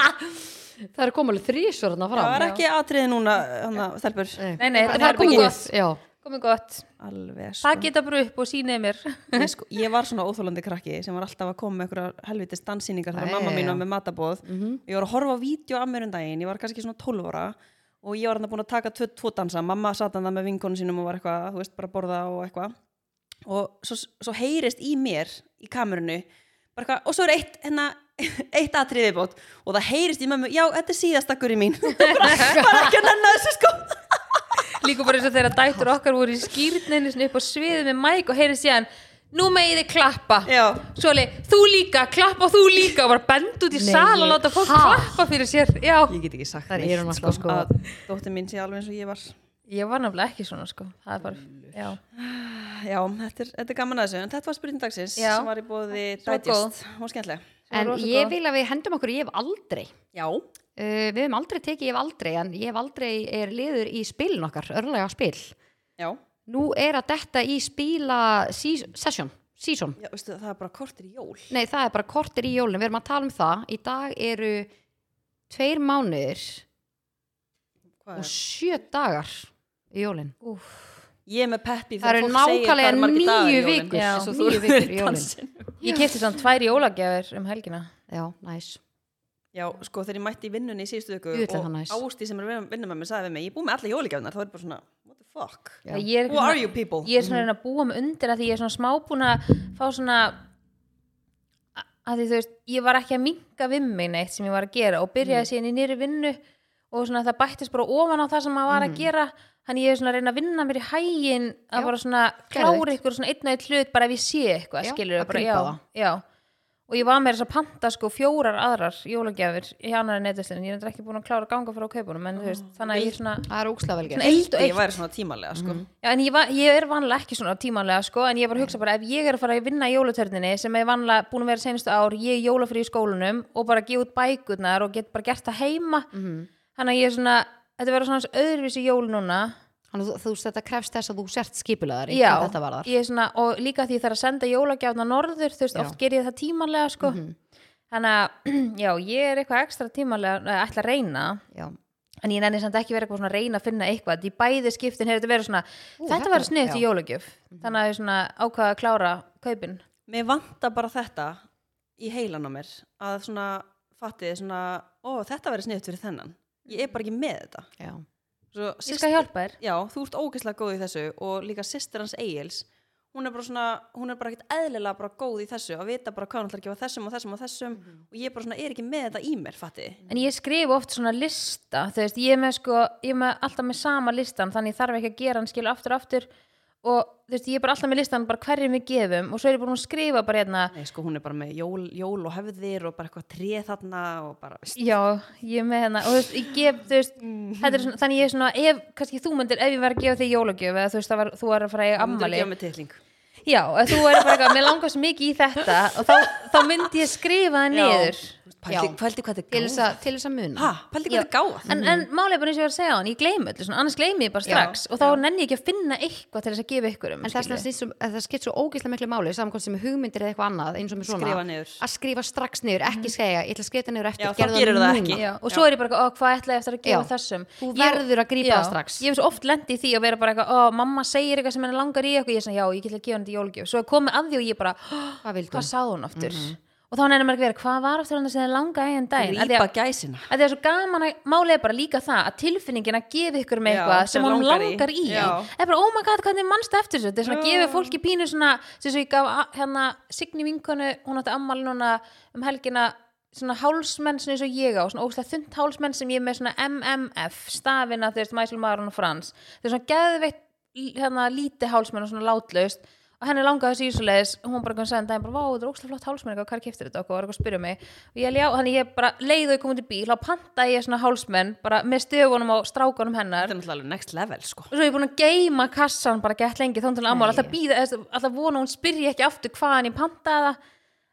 B: Það er komalega þrísur þarna
A: það
B: fram.
A: er ekki atriði núna þannig að þelpur
C: Nei, nei,
B: það,
C: þetta
B: það
C: er
B: er komið
C: herbergið.
B: gott. Já.
C: komið gott
A: alveg sko.
C: það geta bara upp og sínaði mér
A: ég, sko, ég var svona óþólandi krakki sem var alltaf að koma með einhverja helvitist dansýningar þegar
B: Æ,
A: mamma mín
B: já.
A: var með matabóð
B: Mhm.
C: Mhm.
A: ég var að horfa á vídeo af mér um daginn, ég var kannski svona 12 ára og ég var hann búin að taka tvö, tvo dansa mamma sat hann það með vinkonu sínum og var eitthvað þú veist, bara að borða og eitthvað og svo, svo heyrist í mér í kamerunni bara eitthvað, og svo er eitt hérna, eitt atriði bót og það heyrist í mömmu, já, þetta er síðastakkurinn mín bara, bara ekki að nenna þessu sko
C: líka bara eins og þegar dætur okkar voru í skýrninni svona upp á sviðið með mæk og heyrið síðan nú megið þið klappa
A: Já.
C: svo leið, þú líka, klappa þú líka og bara bend út í
B: Nei,
C: sal og
B: ég-
C: láta fólk
B: Ha?
C: klappa fyrir sér já,
A: ég get ekki sagt
B: Þar er hún
A: neitt
B: alltaf, sko.
A: að dóttir mín sé alveg eins og ég var
C: ég var nefnilega ekki svona sko það er bara, já,
A: Já, þetta er, þetta er gaman að þessu, en þetta var spurning dagsins
C: Já.
A: sem var í bóði
C: Svo góð.
A: Digest, hún var skemmtileg
C: Svo
B: En
C: rosa
B: ég
C: góð.
B: vil að við hendum okkur, ég hef aldrei.
A: Já,
B: Uh, við hefum aldrei tekið, ég hef aldrei, en ég hef aldrei er liður í spilin okkar, örlega spil.
A: já,
B: Nú er að detta í spila seas- session, season.
A: já veistu, það er bara kortir í jól
B: Nei, það er bara kortir í jólunum, við erum að tala um það. Í dag eru tveir mánuðir
A: Hvað
B: og
A: er-
B: sjö dagar í jólun.
A: Ég er með peppi
B: Það eru nákvæmlega níu vikur,
C: Já.
B: svo níu vikur í jólun.
C: ég kefti svona tvær jólagjafir um helgina
B: Já, næs.
A: Já, sko þegar ég mætti í vinnunni í síðustu viku
B: Jú, ætli það næs.
A: og Ásti sem er að vinna með mér sagði við mig, ég er búið með alla jólíkjafnar, þá er ég bara svona, what the fuck
B: Já.
C: Það ég er
A: Who
C: svona-
A: are you people?
C: ég er
B: Mhm.
C: svona að reyna að búa mig undir að því ég er svona smábúin að fá svona að því þú veist, ég var ekki að minka við mig neitt sem ég var að gera og
B: Mhm.
C: byrjaði síðan í nýri vinnu og svona það bættist bara ofan á það sem maður var að gera þannig ég er svona að reyna að vinna mér í hægin
B: Mhm.
C: að
B: Já,
C: bara svona
B: geðveikt.
C: klára ykkur svona einn og einn hlut bara ef ég sé eitthvað,
B: Já,
C: skilur
B: að grípa
C: já,
B: það.
C: já, og og ég var með þess að panta sko fjórar aðrar jólagjafir í annari netvestin ég er þetta ekki búin að klára að ganga frá kaupunum en þú veist,
B: Ah,
C: þannig að ég er svona,
B: það er ókslega vel
C: svona
B: gert
C: eitt og
A: ég
C: eitt
A: væri svona tímalega sko.
C: Já, en ég, va- ég er vanlega ekki svona tímanlega sko, en ég var að hugsa bara ef ég er að fara að vinna í jólatörninni sem er vanlega búin að vera senastu ár, ég er jólafri í skólanum og bara gefa út bækurnar og get bara gert það heima
B: Mhm.
C: þannig að ég er svona, þetta verður svona öðruvísi jól núna
B: Þannig að þú- þú veist þetta krefst þess að þú sért skipulegari
C: Já,
B: hvað þetta var þar
C: ég er svona, og líka því ég þarf að senda jólagjafna norður, þú veist,
B: Já. Mhm.
C: oft ger ég það tímanlega sko, þannig að já, ég er eitthvað ekstra tímanlega eh, ætla að reyna
B: Já,
C: en ég nenni samt ekki verið eitthvað svona að reyna að finna eitthvað í bæði skiptin hefur þetta verið svona þetta
B: þetta-
C: var sniðt
B: já.
C: í jólugjöf þannig að ég svona ákvaða að klára kaupin
A: mér vantar bara þetta í heilan á mér að svona fattið svona, ó þetta verður sniðt fyrir þennan ég er bara ekki með þetta
B: já,
A: Svo,
C: ég skal hjálpa þér
A: já, þú ert ógeðslega góð í þessu og líka sýstir hans Egils hún er bara svona, hún er bara ekkert eðlilega bara góð í þessu að vita bara hvað hann ætlar að gefa þessum og þessum og þessum
C: Mhm.
A: og ég bara svona er ekki með þetta í mér fattið
C: en ég skrif oft svona lista þú veist, ég er með sko, ég er með alltaf með sama listan þannig ég þarf ekki að gera hann skilu aftur og aftur og þú veist, ég er bara alltaf með listan bara hverjum við gefum og svo er ég búin að skrifa bara hérna
A: Nei, sko, hún er bara með jól, jól og hefðir og bara eitthvað tréð þarna og bara, veist,
C: Já, ég er með hérna og þú veist, ég gef, þú veist, þetta er svona, þannig ég er svona, ef, kannski þú myndir, ef ég var að gefa þig jólagjöf eða þú veist, það var, þú var að fara að eiga
A: þú myndir að
C: ammali
A: gefa mig titling.
C: Já, ef þú er bara eitthvað, mér langast mikið í þetta og þá, þá myndi ég skrifa það niður
A: Pældi,
B: Já.
A: pældi hvað þetta
B: til
A: er
B: þess
A: gáð.
B: að, til þess að muna
A: Ha, pældi hvað þetta er gáð.
C: en, en málið er bara eins og ég var að segja á hann, ég gleymi öllu svona, annars gleymi ég bara strax og þá nenni ég ekki að finna eitthvað til þess að gefa ykkur um
B: En þess vegna snýst um- að það skipt svo ógeðslega miklu máli saman hvort sem er hugmyndir eða eitthvað annað eins og með svona
A: Skrifa niður.
B: að skrifa Mhm. strax niður, ekki segja ég ætla að skrifa þetta niður eftir,
A: Já, þá
B: gerðu
A: gerirðu það
B: núna.
A: ekki.
C: Já, og svo er ég bara eitthvað, "Ó, hvað ætla ég eftir að gefa
B: Já.
C: þessum
B: Þú
C: Ég-
B: verður að grípa
C: Já,
B: það strax.
C: Ég hef svo oft lendi í því að vera bara eitthvað, ó, mamma segir eitthvað sem henni langar í eitthvað, ég er svona, já, ég get til að gefa henni þetta í jólgjöf Svo er komið að því og ég bara, "Hó,
B: Hvað vildu?
C: hvað sá hún aftur?
B: Mhm.
C: Og þá nenni maður ekki verið, hvað var aftur hann sem henni langaði í enn daginn? Af því
A: Rýpa
C: að-
A: gæsina.
C: að það er svo gaman að málið er bara líka það að tilfinningin að gefa ykkur með
A: Já,
C: eitthvað
A: sem
C: sem hún
A: langar
C: langar,
A: í.
C: í,
A: Já.
C: það er bara, oh my god, hvernig mannstu eftir þessu þetta er svona að gefa fólki pínu svona sem svo ég gaf a- hérna Signi vinkonu hún átti ammal núna um helgina svona hálsmenn sem eins og ég á svona óslega þund hálsmenn sem ég er með svona MMF stafina þú veist Mæsul Marun og Frans þau er svona geðveitt l- hérna líti hálsmenn og svona látlaust og henni langaði þessu ísulegis og hún bara kom að segja en daginn bara, vá, þetta er óslega flott hálsmenn eitthvað, hvað keftir þetta okkur, var eitthvað að spyrja mig og ég ljá, þannig ég bara leiði þau komið til bíl og panta ég svona hálsmenn bara með stöfunum og strákunum hennar
A: Þetta er náttúrulega alveg next level, sko.
C: og svo er ég búin að geima kassan bara gett lengi þá til ammál, alltaf býða, alltaf vona að hún spyrji ekki aftur hvaðan ég pantaði það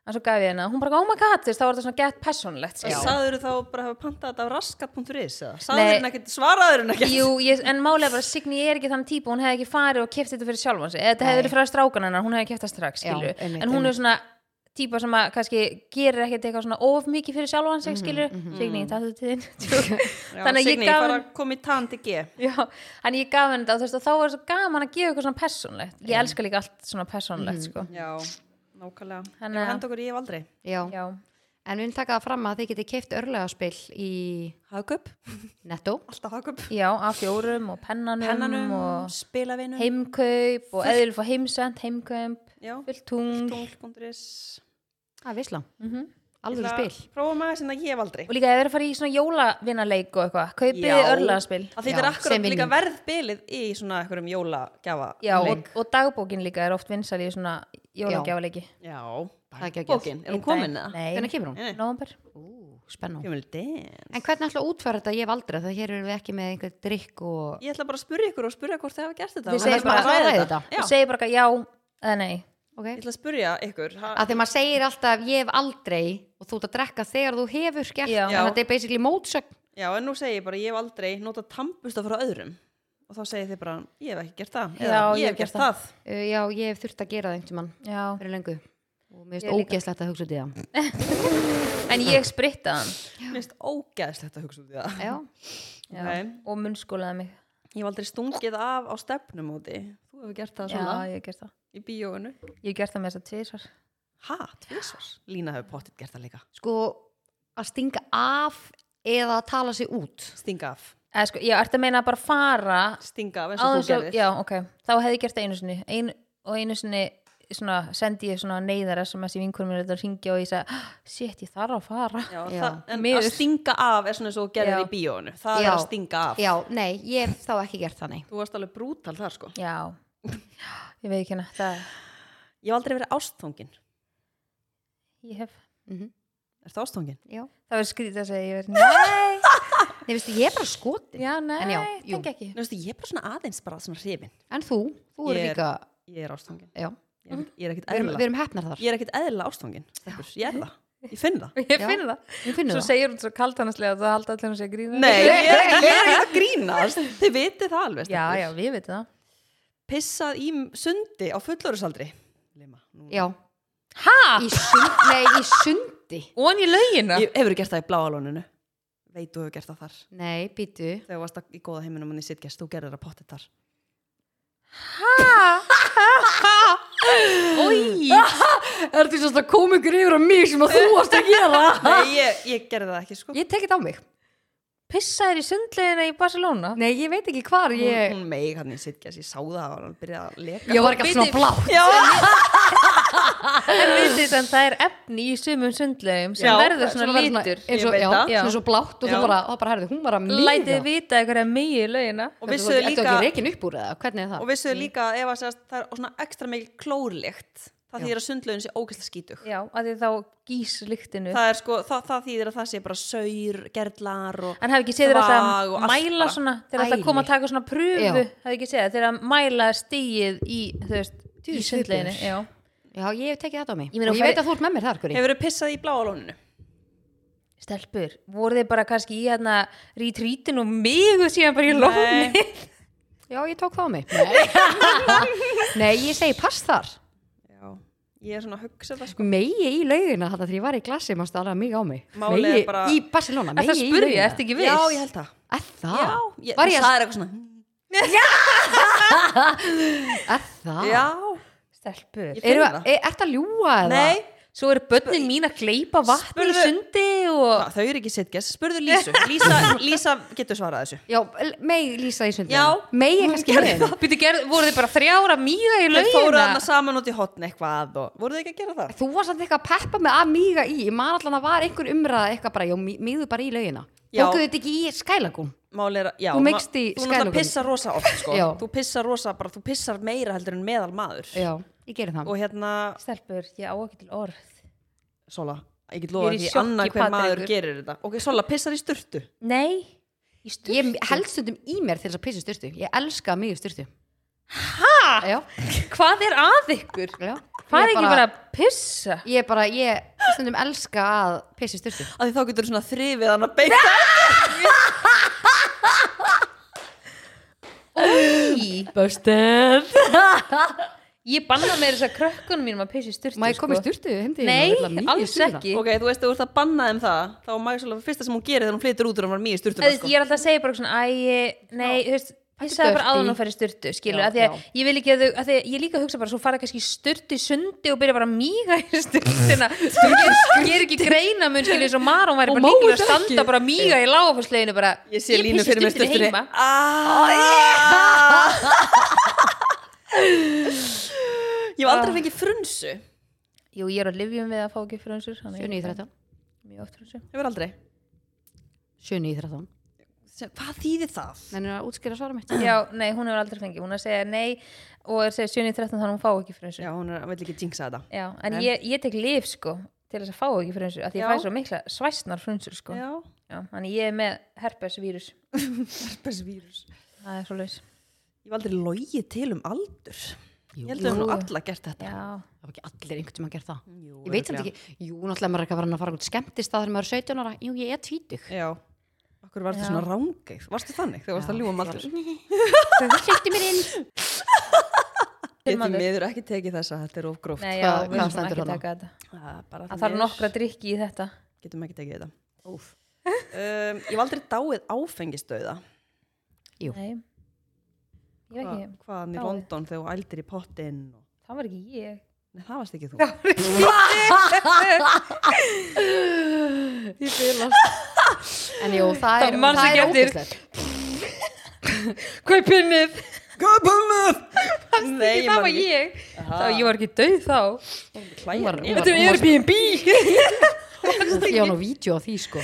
C: en svo gaf ég henni, hún bara, oh my god, þú veist, þá var þetta svona gett personlegt skilur.
A: Saður þá bara hafa pantað þetta á raskat.is eða? Saður
C: Nei.
A: hún ekkert, svaraður hún ekkert?
C: Jú, ég, en málega bara Signi er ekki þann típa hún hefði ekki farið og keft þetta fyrir sjálfan sig Eða þetta hefði verið frá strákan hennar, hún hefði keft það strax
B: Já,
C: skilur.
B: einmitt,
C: en hún er svona típa sem að kannski gerir ekkert eitthvað svona of mikið fyrir sjálfan sig skilur, Signi, það er tíðin
A: Já,
C: þannig að ég
A: Signý,
C: gaf
A: fara
C: henn
A: að koma í tann til G.
C: Já, en ég gaf henni þetta og þú veist, og þá var svo gaman að gefa eitthvað svona persónlegt ég elska líka allt svona persónlegt sko.
A: Já, nákvæmlega.
C: Þannig
A: Þannig
C: að-
A: að henda okkur í ef aldrei.
B: Já.
C: Já,
B: En við erum takað fram að þið getið keift örlegaspil í
A: Hagkaup,
B: Netto
A: alltaf hagkaup.
C: já, A4 og pennanum,
A: Pennanum,
C: og
A: spilavinum,
C: heimkaup og eðil fór heimsend, heimkaup
A: já,
C: fullt tungl
A: tungl.is.
B: Það er visla Alveg spil
A: Prófa maður sem það ég hef aldrei.
C: og líka ef þið er að fara í svona jólavinaleik og eitthvað, kaupið
A: Já.
C: þið örlaðaspil
A: Af því þetta er
B: Já, sem
A: akkurat líka
B: vinning.
A: verðbilið í svona einhverjum jólagjafa
C: já, og, og dagbókin líka er oft vinsal í svona jólagjafaleiki
A: já,
B: Það er ekki að
A: bókin, er hún komin eða?
C: Nei,
B: Hvernig kemur hún?
A: Nei.
C: Nóvember
B: Ú, spennum
A: Kemur den.
B: En hvernig ætla að útfæra þetta ég hef aldrei það hér erum við ekki með einhver drikk og
A: Ég ætla bara að spyrja ykkur og spyrja hvort þið hafa gert þetta
B: Við
A: Annars
B: segjum
A: ætlum bara
B: bara að ræða þetta.
A: Já,
C: og segir bara eitthvað já eða nei
B: okay.
A: ég ætla að spyrja ykkur ha-
B: að þegar maður segir alltaf ég hef aldrei og þú ert að drekka þegar þú hefur gert
C: Já.
B: þannig að þetta er basically mótsögn
A: Já, en nú segi ég bara, ég hef aldrei notað tampusta frá öðrum og þá segir þið bara, ég hef ekki gert það eða
C: Já,
A: ég hef gert það,
B: uh, já, ég hef þurft að gera það einhvern mann
C: já.
B: fyrir lengu og mér
C: Ég
B: finnst
C: líka.
B: ógeðslegt að hugsa út í það
C: en ég spritta hann
A: mér finnst ógeðslegt að hugsa út í það
B: já,
A: Nei.
C: og munnskólaði mig
A: Ég hef aldrei stungið af á stefnumóti Þú hefur gert það
C: já,
A: svona
C: ég hef gert það
A: í bíóinu
C: ég hef gert það með þess að tvisar
A: Ha, tvisvar Lína hefur pottitt gert það líka
B: sko að stinga af eða að tala sig út
A: Stinga af,
C: eða sko, já, ertu að meina að bara fara
A: stinga af eins og
C: áður
A: þú gerðir
C: já, ok, þá hefði ég gert það einu sinni einu, og einu sinni svona, sendi ég svona neyðar sms í vinkunum minni að ringja og ég sagði, "Ah, shit, ég þarf að fara
A: Já,
B: Já.
A: það, en
C: Miður.
A: að stinga af er svona eins og þú
C: Já.
A: gerðir í bíóinu Það
B: Já.
A: er að stinga af
B: já, nei, ég hef þá ekki gert það nei
A: Þú varst alveg brútal þar sko
C: já, ég veit ekki hérna það,
A: Ég hef aldrei verið ástfóngin
C: ég hef
B: Mhm.
A: Er það ástangin?
B: Já.
C: það verður skrítið að segja ég verð nei,
B: Nei, veistu, ég er bara skotin.
C: já, nei,
B: En já, jú.
C: tengi ekki
A: Nú veistu, ég er bara svona aðeins bara svona hrifin.
B: En þú, þú eru
A: Ég er-
B: líka,
A: Ég er ástangin.
B: já,
A: Ég er, ég er ekkit
B: við erum, við
A: eðla.
B: erum hefnar þar.
A: Ég er ekkit eðla ástangin. stelpur. Ég er það. Ég finn það.
C: ég
B: Já.
C: finn það,
B: Við finnum
C: svo
B: það.
C: segir hún svo kaltanaslega það halda allir hún segja grína
A: Nei, ég er ekki, ég er ekki að grínast. Þið vitið það alveg.
C: já,
A: stelpur.
C: já, við veitum það
A: Pissað í sundi á fullorðsaldri. Lima. Nú.
B: Já,
C: ha,
B: í sund, nei, í sundi.
C: von í laugina
A: Ég hefur gert það í bláalóninu. Veit þú hefur gert það þar.
B: Nei, býtu.
A: Þegar þú varst að- í góða heiminum hann í sitgest, þú gerðir að potta þar.
C: Oj.
B: Er þetta svona komingur yfir á mig sem að þú varst að gera?
A: Nei, ég, ég gerði það ekki sko.
B: Ég tekið á mig.
C: pissa þér í sundlegina í Barcelona
B: Nei, ég veit ekki hvar
A: Hún,
B: ég...
A: hún meig hann í sitgest, ég sá það og hann byrjaði að leka.
B: Ég var ekki að svona
C: Bíddu.
B: blátt.
A: Já,
C: en við þetta það er efni í sumum sundlegum sem
A: Já,
C: verður svona
B: var
C: litur
B: eins og,
A: Ég veit
B: já,
A: það.
B: svona svo blátt og
A: Já.
B: það bara, og bara herði, hún var að mína.
C: lætið vita eitthvað megi í laugina
A: og vissuðu
B: Þetta var
A: líka,
B: ekki reikin upp úr eða, hvernig er það?
A: og vissuðu líka að ef að segast, það er svona ekstra mikil klórlikt það þýðir að sundlaugin sé ógæslega skítug
C: já, að því þá gís lyktinu
A: það, er sko, það, það þýðir að það sé bara saur, gerlar og
C: En hafi ekki séð þér alltaf
A: Þvag og
C: að
A: allt
C: mæla
A: bara.
C: svona þeir alltaf
B: Æli.
C: að koma að taka svona pröfu
B: Já.
C: hafi ekki séð það, þeir að mæla stíið í, þú veist, í
B: svipuður.
C: sundleginu Já,
B: Já, ég hef tekið þetta á mig.
C: Ég meina,
B: og ég
C: fæ-
B: veit að þú ert með mér þar, Guri.
A: hefur þið pissað í bláa lóninu
C: stelpur, voru þeir bara kannski í hérna retreatin og mig og síðan bara í lóni
B: Já, ég tók það á mig. Nei, Nei ég segi pass þar.
A: já, ég er svona að hugsa það sko
B: Megi í laugina þetta þegar ég var í klassi, maður stáði alveg mig á mig.
A: Málið er
B: Megi
A: bara-
B: í Barcelona,
C: Ertu
B: megi
C: að
B: í
C: spyrja,
B: laugina.
C: ertu ekki viss?
A: já, ég held það
B: Er
C: Ah.
B: það?
A: já, ég,
B: Var ég að
A: það er eitthvað svona
B: Er
C: Ah.
B: það?
A: já,
C: Stelpur
A: Ég-
B: Eru,
A: finn
B: e-
A: það.
B: er, er það ljúa eða?
A: nei,
C: Svo eru börnin mín að gleipa vatni í
A: Spurðu-
C: sundi og
A: það, þau eru ekki sitges spurðu Lísu, Lísa, Lísa getur svarað þessu
B: Já, l- megi lýsa í sundinu.
A: Já,
B: Megi
A: hún
B: kannski
A: gerði
B: með.
A: það.
C: Býtu, gerð, voru þeir bara þrjára mýga í
A: þau fóruð
C: laugina
A: þarna saman út í hotn eitthvað og voruð þið ekki að gera það
B: Þú varst alltaf eitthvað að peppa með að míga í. Ég man allan að var einhver umræða eitthvað bara, já, míðu bara í laugina.
A: Já.
B: Tókuðu þetta ekki í skælagum?
A: Máli er að, já,
B: Þú meikst í
A: þú náttúrulega
B: skælunum.
A: pissar rosa oft sko.
B: Já.
A: þú pissar rosa, bara þú pissar meira heldur en meðal maður
B: Já, ég geri það.
A: og hérna,
C: Stelpur, ég á ekki til orð
A: Sola, ég get lofa
C: Ég er í
A: því
C: sjokki,
A: annað hver
C: Patrekur.
A: maður gerir þetta ok, Sola, pissar í sturtu
C: Nei, í sturtu
B: Ég held stundum í mér til þess að pissa í styrtu. Ég elska mig í styrtu.
C: Ha?
B: Já,
C: Hvað er að ykkur?
B: já.
C: Hvað er
B: Ég
C: ekki bara að pissa?
B: Ég bara, ég stundum elska að pissa í styrtu.
A: af því þá getur svona þrifið hann að beita
C: Í.
B: Böstur!
C: Ég banna með þess að krökkunum mínum að pissa í sko. styrtu
B: Má ég koma í styrtu? Heimdi,
C: Nei, alls
B: hérna.
C: ekki
A: ok, þú veist, þú ert að banna þeim það þá má ég Sola, fyrsta sem hún gerir þegar hún flytur út er að hún var mjög í
C: Eða,
A: sturtu sko.
C: Ég er alltaf að segja bara svona Æ, ég- nei, þú veist Pissaði bara
B: dirty.
C: áðan og fer í styrtu, skilur
B: Já,
C: af því að
B: já.
C: ég vil ekki að þau, að því að ég líka hugsa bara svo fara kannski í styrtu í sundi og byrja bara að míga í sturtina þú ger, ger ekki greina mun skilur eins og Maron væri
B: Og
C: bara
B: má
C: líkir
B: þetta
C: að
B: ekki.
C: standa bara að míga í lágafærsleginu bara,
A: ég sé línu
C: pissa í
A: fyrir mér
C: sturtunni
A: sturtunni
C: heima
A: Ah! ég hef
C: Ah.
A: aldrei fengið frunsu hefur
C: Jú, ég er á livjum við að fá ekki frönsur þannig að ég-
B: 7.13.
C: Mjög oft frönsur
A: aldrei
B: 7.13.
A: Sem- hvað þýðir það?
B: Þannig að útskýra svara mitt.
C: Já, nei, hún hefur aldrei fengið, hún er að segja nei og er að segja 7 í 13 þannig að hún fá ekki frönsu
A: já,
C: Já,
A: hún er, vill ekki jinxa þetta
C: en ég, ég tek lif sko til þess að fá ekki frönsu, að því ég
A: Já.
C: fæ svo mikla svæsnar frönsur sko Já,
A: já
C: þannig ég er með herpesvírus,
A: herpesvírus
C: það er svo laus
A: Ég hef aldrei logið til um aldur
B: Jú.
A: Ég held að við nú alla gert þetta
C: Já,
B: Það var ekki allir einhvern tíma að gera það.
A: Jú,
B: Ég veit samt
A: örugglega.
B: ekki, jú, náttúrulega maður er ekki að vera að fara út skemmtist að þegar maður er 17 ára. Jú, ég er tvítug.
A: Já, okkur var
C: Já.
A: þetta svona rángið Varstu þannig þegar varst að ljúga um aldur
B: Hlýtti mér inn.
A: Getum
C: aldur.
A: miður ekki tekið þessa, þetta er of gróft
C: nei, já,
B: Hvað-
C: við
B: hvað
C: erum
B: stendur
C: ekki
B: þarna?
C: taka þetta
A: Það er bara
C: að
A: því
C: það eru
A: miður
C: nokkra drikki í þetta
A: Getum ekki tekið þetta
B: Úf.
A: um, Ég hef aldrei dáið áfengistauða
B: Jú.
C: Nei, ég veit
A: Hva,
C: ekki,
A: Hvaðan í
C: dáið.
A: London þegar þú ældir í pottinn og...
C: það var ekki ég
A: Nei, það varst ekki þú
B: Ég fylast. En jú, það er,
C: Það manst
B: það
C: ekki
B: er
C: eftir.
B: ógeðslegt.
C: Hvað er pinnið?
A: Göpumöð Nei,
C: Það var ég, það, ég var ekki döð þá
A: Hún var
B: Ég var-
C: Þetta er
B: hún var-
C: Airbnb
B: Ég á nú vídeo á því, sko.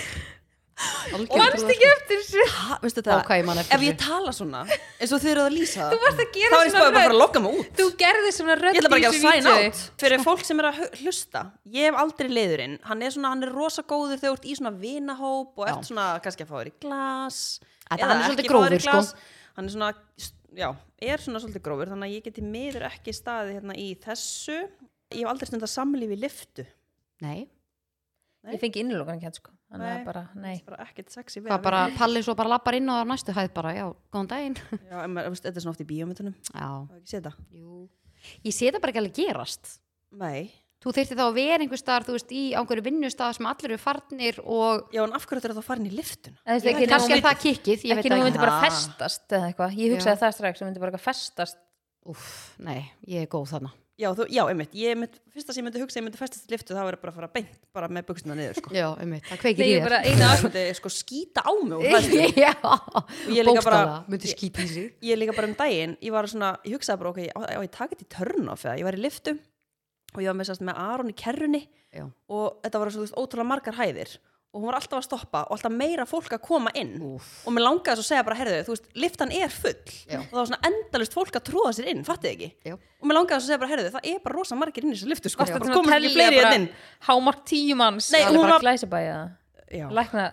A: Og
C: Manst ekki eftir þessu
A: Ha, veistu það,
B: Ó, hvað ég man eftir
A: ef ég tala svona eins og þið eru að lýsa það
C: varst að gera
A: þá er ég
C: svona
A: spáði bara að fara
C: rödd.
A: að lokka mig út
C: Þú gerði svona rödd
A: ég ætla bara
C: í
A: ekki að
C: þessu
A: sign
C: vídeoi.
A: out fyrir
B: Sko.
A: fólk sem er að hu- hlusta ég hef aldrei leiðurinn, hann er svona hann er rosa góður þegar þú ert í svona vinahóp og ert svona kannski að fá þér í glas
B: Þetta
A: eða
B: hann er svolítið
A: ekki fá þér í
B: grófur, sko.
A: glas. hann er svona, já, er svona svolítið grófur þannig að ég geti miður ekki staðið hérna í þessu ég hef aldrei stundið að samlífi liftu
B: Nei,
C: Ég fengi innlokan ekki sko Þannig
A: Nei.
C: að bara, nei
A: bara ekkert sexy við
B: hvað
A: að
B: bara
A: vera.
B: Palli svo bara lappar inn á þar næstu hæð bara, já, góðan daginn
A: já, en maður, veist, þetta er svona oft í bíómyndunum
B: Já,
A: Má ekki sé þetta?
B: jú Ég sé það bara ekki alveg gerast
A: Nei.
B: Þú þyrfti þá að vera einhver staðar, þú veist, í einhverju vinnustað sem allir eru farnir og
A: Já, en af hverju þetta er þá farin í liftuna?
C: En þú veist,
A: Ég
C: ekki
A: veit
B: kannski
C: nóg-
B: er það kikkið, ég veit
C: Ekki
B: það
C: nú
B: ekki
C: myndi bara
A: Ah.
C: festast eða eitthvað Ég hugsaði það strax, hún myndi bara eitthvað festast
B: Úff, nei, ég er góð þarna
A: Já, þú, já, einmitt, ég mynd, fyrsta sem ég myndi hugsa, ég myndi festast í liftu, þá er ég bara að fara beint, bara með buksuna niður, sko.
B: Já, um það kveikir
C: Nei,
B: í
C: ég
B: þér
C: bara eina
A: Það
C: af
A: myndi, sko, skýta á mig og hræðslu.
B: Já,
A: ég líka bara-
B: bókstala, myndi skýta í sig
A: Ég líka bara um daginn, ég var svona, ég hugsaði bara, ok, á, á ég taka þetta í törn off, eða ég var í liftu og ég var með, sérst, með Aron í kerrunni
B: Já,
A: og þetta var svona ótrúlega margar hæðir og hún var alltaf að stoppa og alltaf meira fólk að koma inn
B: úff
A: og mér langaði svo að segja bara, herðu, þú veist, liftan er full
B: Já.
A: og það var svona endalust fólk að tróða sér inn, fattið ekki?
B: Já.
A: Og mér langaði svo að segja bara, herðu, það er bara rosa margir inn í þessu liftu, sko,
C: Varstu
A: bara
C: svona að
A: komast ekki
C: telja
A: fleiri
C: bara
A: hérna inn.
C: Hámark tíu manns
A: Nei,
C: Það er
A: hún
C: bara
A: var-
C: glæsibæja
A: Já.
C: Lækna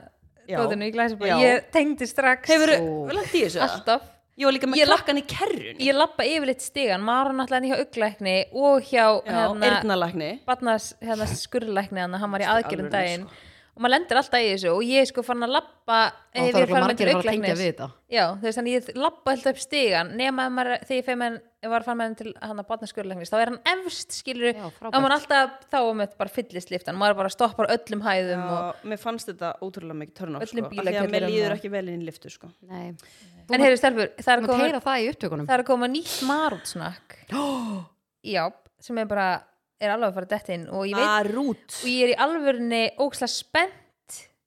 A: Já.
C: dótinu í
A: Já.
C: glæsibæja Ég tengdi strax
A: Hefur
B: Ó.
A: þú langt í þessu? eða?
C: Alltaf
A: Ég var líka með
C: Ég la-
A: klakkan í kerrun
C: Ég lappa yfirleitt stigan Mara náttúrulega hérna hjá auglækni og hjá hérna,
A: Eirnalækni
C: barnas hérna, skurrlækni hann, hann var í aðgerðum
A: alvörunni,
C: daginn
B: sko.
C: og maður lendir alltaf í þessu og ég er sko fann að lappa
B: Það er örugglega margir að fara að tengja við þetta
C: Já, þú veist, þannig ég lappa alltaf upp stigan nema ef maður, þegar ég, fer með, hann- ég var að fara með hann til hann að batna skurðlæknis, þá er hann efst skilur,
B: Já, frábært.
C: þá maður alltaf þá um þetta bara fyllist liftan, maður bara stoppar öllum hæðum og,
A: Um, og mér fannst þetta ótrúlega mikið törn á sko,
C: Öllum hérna.
A: af því að mér
C: bílakerrum
A: líður
C: og-
A: ekki vel inn í liftu sko.
B: Nei,
C: en heyrðu stelpur, það er
B: maður
C: komið
B: heyra það í upptökunum
C: það er að koma nýtt marútsnakk já, sem er bara er alveg að fara dett inn og ég
B: Ah.
C: veit
A: Ah, Marút
C: og ég er í alvörunni óksla spennt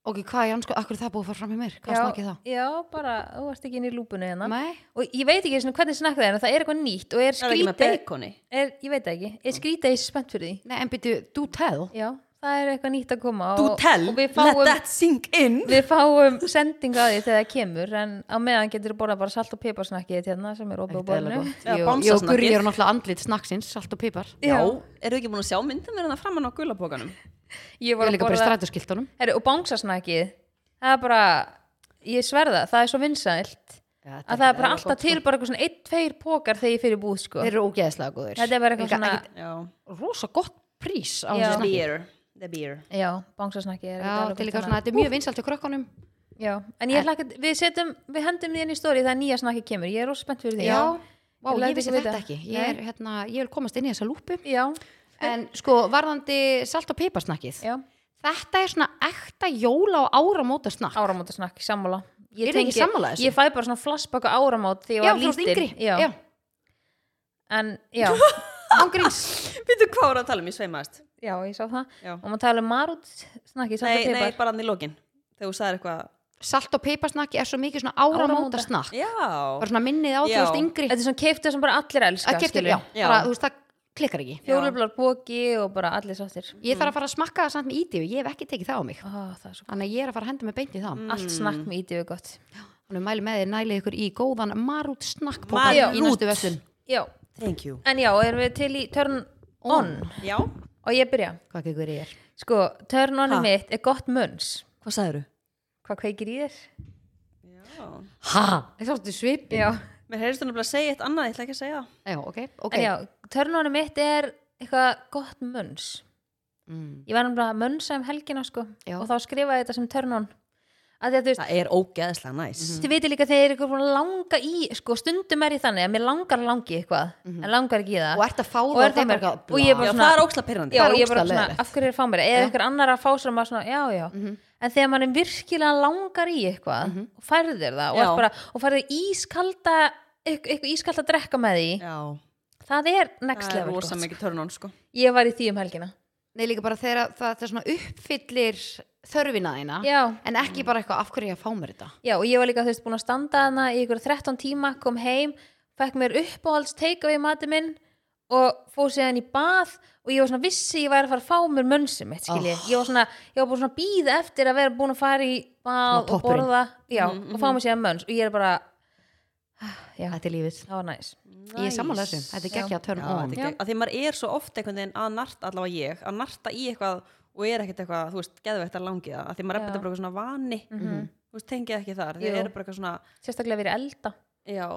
B: Ok, hvað er hann sko, akkur er það búið að fara fram í mér? Hvað snakkið það?
C: já, bara, þú varst ekki inn í lúpunni hérna
B: Nei,
C: og ég veit ekki svona hvernig snakk það er en það er eitthvað nýtt og er
A: Það er ekki með
C: skrítið
A: beikoni
C: er, ég veit það ekki, er skrítið ég er spennt fyrir því
B: nei, en byrju, do tell
C: já, það er eitthvað nýtt að koma
A: Do
C: og,
A: tell,
C: og við
A: let
C: fáum,
A: that sink in
C: við fáum sendingu að því þegar það kemur en á meðan getur þú borðað bara salt og piparsnakkið hérna sem er opið á
B: Ekkert eðlilega
C: borðinu
B: gott.
A: Já,
B: Ég og- ég og
A: bamsasnakkið.
B: Gurri eru náttúrulega andlit snakksins, salt og pipar
A: Já, eru ekki búin að sjá myndin verðan að framann á gulabókanum?
C: ég
B: Ég
C: var
B: er
C: að
B: líka bara í
C: borða
B: strætóskiltunum
C: Heru, og bánsasnakið það er bara, ég sverða það er svo vinsælt að það er sko. bara alltaf til bara eitthvað svona einn, tveir pókar þegar ég fyrir búð sko
B: Þeir eru ógeðslega góðir
C: þetta er bara eitthvað svona,
A: Já,
B: svona Rosa gott prís á
C: Já.
B: þessu snakki
A: beer, the beer
C: já, bánsasnakið
B: Já,
C: er ekkert alveg
B: þetta er líka
C: gott
B: svona,
C: annað.
B: þetta er mjög vinsalt til krökkunum
C: já, en ég hlakka, við setjum við hendum því inn í stóri þegar nýja snakið kemur ég er rosa spennt fyrir því
B: Já, Vá,
C: Ég
B: ég,
C: læt
B: vissi
C: ekki vita.
B: þetta ekki ég, er,
C: Nei.
B: hérna, ég vil komast inn í þessa lúpu
C: já,
B: En sko, varðandi salt og piparsnakkið
C: já.
B: Þetta er svona ekta jóla og áramóta snakk
C: áramótasnakk, sammála
B: Ég er ekki sammála þessu
C: ég fæ bara svona flassbaka áramót
B: Já, þú
C: þegar ég var
B: ert yngri
C: lítil já. en já,
B: ángríns
A: Býtu hvað voru að tala um, ég sveimaðist
C: já, ég sá það
A: Já.
C: og maður tala um marút snakki
A: Nei, nei, bara hann í lokin Þegar þú sagðir eitthvað
B: Salt og piparsnakki er svo mikið svona áramóta snakk
A: Já,
B: Bara svona minnið á þú
A: Já.
B: veist yngri
C: þetta er svona keiftu sem bara allir elska
B: Að keftir,
C: skilurðu.
B: já,
A: Já.
B: bara, þú veist, það klikkar ekki
C: fjólublar bóki og bara allir sáttir
B: Ég þarf að fara að smakka það samt með íti og ég hef ekki tekið það á mig
C: oh, það er svo
B: Þannig að ég er að fara að henda með beint í það
C: mm. allt snakk með ídýfi gott
B: Þannig að mæli með þér nælið ykkur í góðan marút snakkpóka
A: Marút.
B: í næstu veslun
C: já.
A: thank you
C: en já, erum við til í turn on
A: Já,
C: og ég byrja
B: Hvað kekkur ég er?
C: sko, turn on
A: Ha?
C: mitt er gott munns
A: hvað sagðir
C: hvað kveikir í þér?
A: Já
B: Ha? Það þáttu svip
C: já,
A: Mér heyrðist þú nefnilega að segja eitt annað, ég ætla ekki að segja það
B: Já, ok, ok
C: en já, turn on mitt er eitthvað gott munns
B: Mm.
C: ég var náttúrulega að munnsa um helgina sko
B: Já.
C: og þá skrifaði ég þetta sem turn on að því að þú veist,
A: Það er ógeðslega næs
C: Þið veitir líka þegar ég er eitthvað búin að langa í sko stundum er ég þannig að mér langar að langi í eitthvað en langar ekki í það
B: Mhm. Og ert að fá það
C: Og er
B: það er
C: það
B: bara
C: bara-
B: eitthvað-
C: og ég er
A: Já,
C: bara-
A: það er ógeðslega pyrrandi
C: já,
B: Það er
C: ég er bara
B: ógeðslega
C: svona,
B: leiðinlegt. Mhm.
C: af hverju er að fá mér eða einhver annar að fá sér maður svona, já, já en þegar maður er virkilega langar í eitthvað og færðir það og,
A: Já.
C: ert bara, og færðir ískalda eitthvað, eitthvað ískalda að drekka með því
A: Já,
C: það er next
A: það er
C: level
A: rosa
C: gott.
A: mikið törnón sko.
C: ég var í því um helgina
B: Nei, líka bara þegar það, það er svona uppfyllir þörfina
A: Ah.
B: þína
C: já,
B: en ekki bara eitthvað af hverju ég að fá mér þetta
C: já, og ég var líka þú veist búin að standa hana í ykkur 13 tíma, kom heim fekk mér uppáhalds teika við mati minn og fór síðan í bað og ég var svona vissi ég væri að fara að fá mér mönnsum mitt skilji,
A: Ah.
C: ég var svona, ég var búin svona býð eftir að vera búin að fara í bað
B: Svona
C: og
B: toppurinn.
C: borða, já,
A: Mhm,
C: og fá mér síðan mönns og ég er bara, Já.
B: þetta er lífið
C: það var næs
B: Ég er sammála þessu, þetta er geggja að
A: Já,
B: turn
A: þetta
B: on
A: er gegn- af því maður er svo oft einhvern veginn að narta allavega ég, að narta í eitthvað og er ekkert eitthvað, þú veist, geðveitt að langi það af því maður er
C: Já.
A: bara eitthvað svona vani
B: Mhm.
C: Mhm.
A: þú veist, tengið ekki þar, því
C: Jú.
A: er bara eitthvað svona
C: sérstaklega verið elda,
A: já,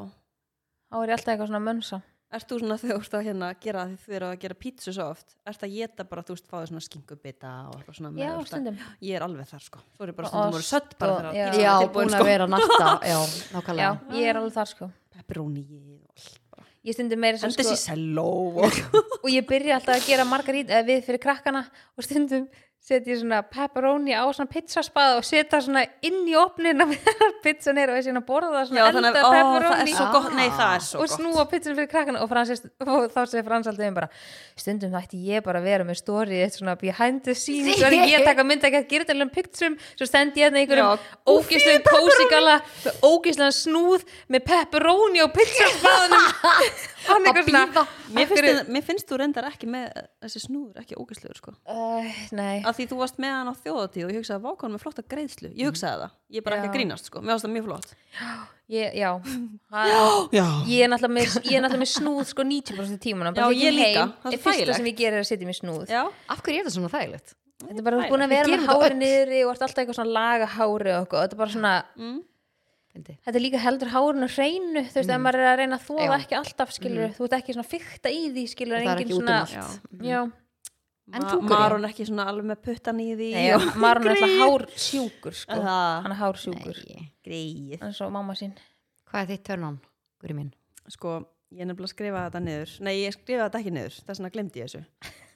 C: þá er ég alltaf eitthvað svona mönnsa
A: ert þú svona þegar þú ert að hérna gera því þú eru að gera pítsu svo oft ert að geta bara, þú veist, fá þér svona skinkubita og eitthvað svona
C: já,
A: þú veist,
C: stundum,
A: að- ég er alveg þar, sko, þú eru bara
C: Og
A: stundum
C: ost
A: voru sött bara
C: og-
A: þegar
C: já.
A: pítsan
B: Já,
A: er tilbúin,
B: búin
A: sko.
B: að vera að narta Já,
C: já,
B: nákvæmlega
C: ég er alveg þar sko
A: pepperoni og allt bara.
C: ég stundum meira sem
A: Enda
C: sko
A: þessi selló og
C: og ég byrja alltaf að gera margarít eða við fyrir krakkana og stundum setja ég svona pepperoni á svona pizzaspaða og setja svona inn í opnina meðan pizzan er og þessi að borða það svona
A: Já,
C: elda
A: þannig að, ó, það er
C: pepperoni
A: svo gott, nei, það er svo
C: og
A: gott
C: snúa pizzan fyrir krakkana og, Francis, og þá segir Frans alltaf um bara stundum ætti ég bara að vera með story eitt svona behind the
B: Sí.
C: scenes sí. ég taka mynda ekki að gera alveg picturum svo stendi ég hérna í
A: Já,
C: einhverjum ógislega kósigala með ógislega snúð með pepperoni og pizzaspaðanum hann
B: Að
C: eitthvað svona
B: bíða.
A: Mér
C: af
A: finnst,
C: hverju-
A: þetta- mér finnst þú reyndar ekki með þessi snúður, ekki ógæsluður sko.
C: Uh, nei,
A: Af því þú varst með hann á þjóðatíð og ég hugsaði, vákvæm með flotta greiðslu. Ég hugsaði það. Ég er bara ekki
C: Já.
A: að grínast sko. Mér varst það mjög flott.
C: ég, já ha,
A: Já.
C: Ég er náttúrulega með, ég er náttúrulega með snúð sko 90% tímuna
A: Já, ég líka. Það er
C: Það fyrsta
A: þægilegt.
C: sem ég gerir er að setja mér snúð
A: Já.
B: Af hverju er þetta svona þægilegt?
C: Þetta er bara þú
A: Þægilegt.
C: ert búin að
B: Við
C: vera
B: gerum
C: með
B: þetta
C: hári
B: öll.
C: niðri og ert alltaf eitthvað svona laga hári og eitthvað. Þetta er bara svona,
A: Mm.
B: Fyndi.
C: þetta er líka heldur hárinu hreinu Þú veist, ef maður er að reyna að þóða
B: Já.
C: ekki alltaf skilur
A: Mm.
C: Þú ert ekki svona fykta í því skilur
B: Það er
C: engin
B: ekki út um
C: svona,
B: allt.
C: Já,
B: En
A: Ma-
B: þú, Guðrún?
A: Maron ekki svona alveg með puttan í því.
C: Nei, já Marun er alltaf hársjúkur sko
A: Það.
C: Hann er hársjúkur
B: Nei.
A: Greið.
C: En svo mamma sín
B: Hvað er þitt turn on, Guri minn?
A: Sko, ég er nefnilega að skrifa þetta niður. Nei, ég skrifa þetta ekki niður. Þess vegna glemdi ég þessu.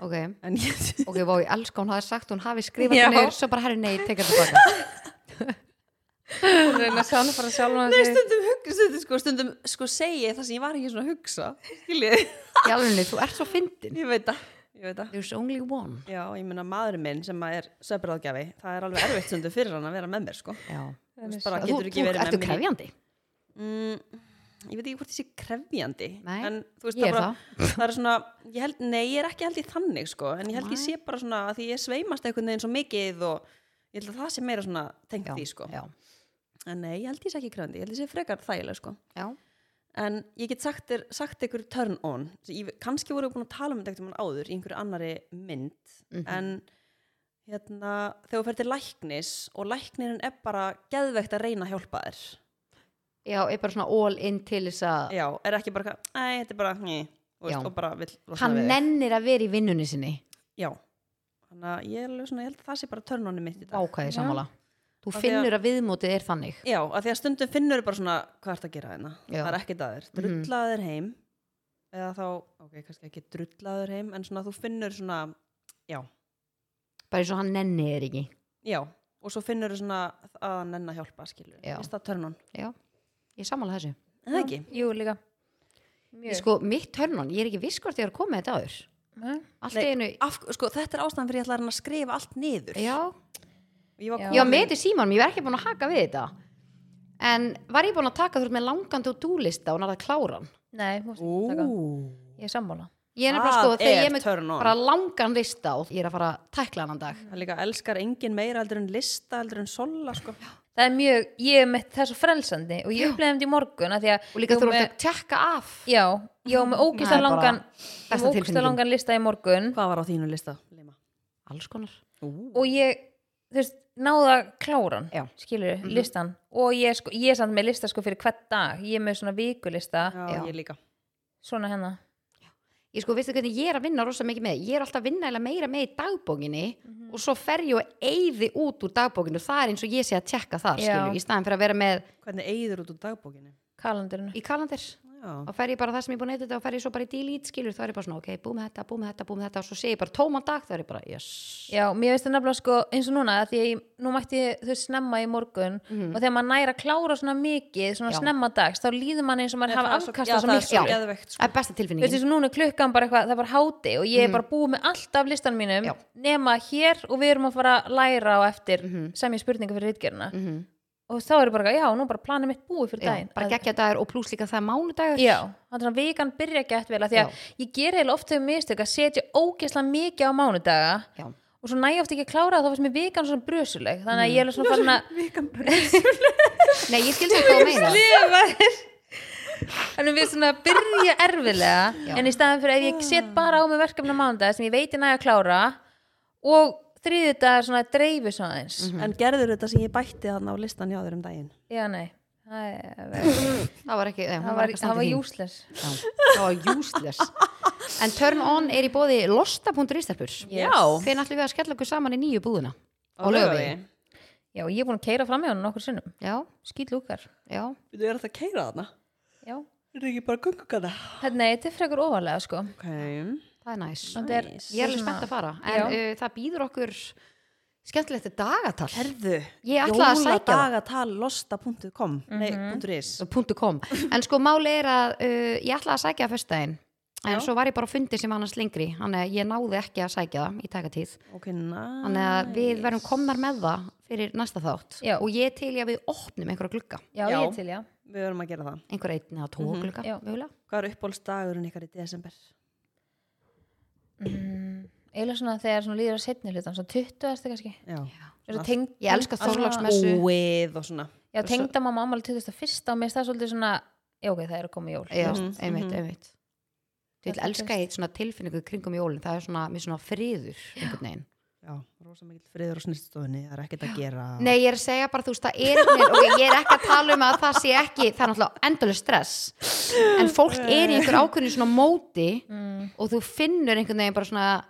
B: Ok,
A: En ég...
B: ok, vá, ég elska hún hafi sagt, hún hafi skrifað
C: Já.
B: þetta niður, svo bara herri nei, tekar þetta baka.
C: Hún er að sjálf bara sjálf
A: Nei, stundum hugsa þetta sko, stundum sko segi ég það sem ég var ekki svona að hugsa, skiljið,
B: Í alveg, þú ert svo fyndin.
A: ég veit það, ég veit það.
B: There's only one.
A: Já, ég meina maðurinn minn sem að er söpbráðgjafi, það er alveg erfitt stundu fyrir hann að vera með mér, sko.
B: Já.
A: Þú veist bara,
B: Þú,
A: getur
B: þú
A: ekki verið með mér.
B: ertu
A: í-
B: krefjandi.
A: Mm, ég veit ekki hvort ég sé krefjandi.
B: Nei,
A: en, þú veist,
B: ég er
A: það. Bara, það er svona, ég held, nei, ég er ekki held í þannig, sko, en ég held ég
B: Nei.
A: sé bara svona að því ég sveimast einhvern veginn svo mikið og ég held að það sé meira svona tengt því, sko.
B: Já,
A: En nei, ég held ég sé ekki krefjandi, ég held ég sé frekar þægilega, sko.
B: já.
A: En ég get sagt, þér, sagt ykkur turn on, Ég- kannski voru búin að tala um þetta eitthvað áður í einhverju annari mynd,
B: Mhm.
A: en hérna, þegar þú fer til læknis og læknirinn er bara geðveikt að reyna að hjálpa þér
B: Já, er bara svona all in til þess að
A: já, er ekki bara, eitthvað, æ, þetta er bara ný, veist,
B: Já.
A: og bara vill losna
B: hann
A: við þig."
B: nennir að vera í vinnunni sinni.
A: já, þannig að ég, er alveg svona, ég held að það sé bara törnunni mitt í dag
B: Ákvæði
C: Já.
B: sammála. Þú
A: Af því að-
B: finnur að viðmótið er þannig.
A: já, af því að stundum finnur bara svona hvað ertu að gera hérna,
B: Já.
A: það er ekkert að þér
B: Mhm.
A: drullaður heim eða þá, ok, kannski ekki drullaður heim en svona þú finnur svona,
B: Bara eins og hann nennir þér ekki.
A: já og svo finnur þú svona að hann nenni að hjálpa skilur,
B: Já.
A: finnst það törnun,
B: Já, ég er sammála þessu.
A: en það ekki
C: Jú, líka
B: Ég sko, mitt turn on, ég er ekki viss hvort ég er að koma með þetta áður.
C: Nei.
B: Allt
A: Nei.
B: í einu,
A: Af, sko, þetta er ástæðan fyrir ég ætlaði að reyna að skrifa allt niður
B: já,
A: ég var
C: Já.
B: ég var
A: komin-
B: með þetta í símanum, ég var ekki búin að haka við þetta. En var ég búin að taka þú ert með langandi og dúlista og náða að klára hann?
C: Nei, þú veist, taka.
A: Ú,
C: ég er sammála
B: Ég er nefnilega
A: Það
B: sko, þegar ég er
A: er
B: með
A: turn on.
B: bara langan lista og ég er að fara að tækla hann dag.
A: það líka elskar engin meira heldur en lista heldur en sola sko.
C: það er mjög, ég er með það er svo frelsandi og ég upplegaði um þetta í morgun af því að
B: Og líka
C: ég
B: þú
C: var
B: ert
C: með,
B: að tjekka af.
C: já, ég var með
B: Það
C: ógista
B: er bara besta
C: langan ég var ógista
B: tilfinningin.
C: langan lista í morgun
A: hvað var á þínu lista? Lima.
B: Alls konar.
C: og ég, þú veist, náða kláran
B: Já. Mhm.
C: skilur, listan og ég, er sko, ég er samt með lista sko fyrir hvert dag ég er með svona vikulista
A: já,
B: Já.
A: ég líka
C: svona hérna, hennar
B: Ég sko, veistu hvernig ég er að vinna rosa mikið með? Ég er alltaf að vinna eiginlega meira með í dagbókinni og svo fer ég og eyði út úr dagbókinu. Það er eins og ég sé að tjekka þar,
C: Já.
B: skilur, í staðin fyrir að vera með
A: hvernig eigður út úr dagbókinu?
C: kalandurinn
B: í kalandir.
A: Já.
B: og fer ég bara það sem ég er búin að eitthvað og fer ég svo bara í delete skilur, þá er ég bara svona, ok, búið með þetta, búið með þetta, búið með þetta og svo sé ég bara tóman dag, þá er ég bara, yes
C: Já, mér veist það nefnilega sko eins og núna af því að ég, nú mætti ég, þú veist snemma í morgun
A: Mhm.
C: og þegar maður næra klára svona mikið svona
B: Já.
C: snemma dags, þá líður mann eins og maður
A: Nei,
C: hafa
A: það er svo-
C: afkasta
A: já, það
C: svo
A: er
C: mikið
A: svo
B: Já.
A: geðveikt, Mhm. sko.
B: það er besta
C: Þú veist
B: tilfinningin
C: þessu núna er klukkan bara eitthvað, það er bara háti og ég er bara búið með allt af listan mínum
B: Já.
A: Mhm.
C: nema hér og við erum að fara að læra á eftir sem ég spurninga fyrir reitgerina
B: Mhm.
C: og og þá er ég bara, eitthvað, já, nú bara planið mitt búið fyrir
B: Já,
C: daginn
B: bara
C: Að-
B: geggja dagur og pluss líka það er mánudagur
C: Já, þannig að vikan byrja gett vel að því að ég ger heila oft þau mistök að setja ógeðslega mikið á mánudaga
B: Já.
C: og svo næ ég oft ekki að klára það þá fannst mér vikan svona brösuleg þannig að ég er alveg svona farin að
B: Nei, ég skil þig hvað að meina
C: lifaðir Þannig að við svona byrja erfilega
B: Já.
C: en í staðan fyrir ef ég set bara á mig verkefni á mánudaga sem ég veit ég næ að klára og þriðið dagar svona dreifu svo aðeins
A: en gerður þetta sem ég bætti þarna á listan hjá þér um daginn
C: Já, nei Það er-
B: Það var ekki, nei, hún
C: það
B: var
C: var,
B: ekki
C: það var
B: standið þín
C: useless
B: Já, Það var useless En Turn On er í bóði losta.is stelpur
A: Já.
B: Hvernig ætlum við að skella okkur saman í nýju búðuna?
A: Á
B: Á Laugavegi.
A: Laugavegi.
C: Já, ég er búin að keira fram í hann nokkur sinnum
B: Já,
C: Skýt lúkar
B: já
A: Þú er þetta að keira þarna?
C: Já
A: Er ekki bara gungugata?
C: Hérna, þetta er frekar ofalega sko
A: Ok.
B: Það er næs.
C: Þetta er-
A: Nice.
B: Ég er alveg
C: svona-
B: spennt að fara.
C: Já.
B: En uh, það býður okkur skemmtilegt dagatal.
A: Herðu,
B: Ég ætlaði að sækja það.
A: Jóladagatallosta.com Nei, punktur .is
B: Puntu kom. En sko máli er að uh, ég ætlaði að sækja að föstudaginn. En svo var ég bara á fundi sem var annars lengri. Þannig að ég náði ekki að sækja það í takatíð.
A: Ok, næ
B: Þannig að við verum komnar með það fyrir næsta þátt.
C: Já.
B: Og ég til ég að við opnum einhverja glugga.
C: Já,
A: Já.
C: ég er til, já
A: Við verum að gera það
B: Einhverja einn eða tvo glugga.
C: Mhm. Já.
B: mögulega.
A: Hvað er uppbólsdagurinn ykkar í desember?
C: Eila Mm. svona þegar svona líður að setni hlutan Svona 20 erstu kannski
A: Já,
C: Svona tengd-
B: Ég elska
C: svona-
B: Þorláksmessu.
A: Óið og svona
C: Já, tengda mamma ámali 21. og mér er það svolítið svona Já, ok, það er að koma jól
B: Já,
C: Þú veist,
B: einmitt, einmitt. Ég
C: Það Mhm. er
B: elska ég svona tilfinningu kringum jólinn. Það er svona, mér svona friður einhvern veginn.
A: Já, rosa mikill friður á snýststofunni Það er ekkert að gera
B: Nei, ég er að segja bara, þú veist, það er einhvern veginn, ok, ég er ekki að tala um að það sé ekki, það er náttúrulega endalega stress, en fólk er í einhver ákveðinu svona móti
C: mm,
B: og þú finnur einhvern veginn bara svona,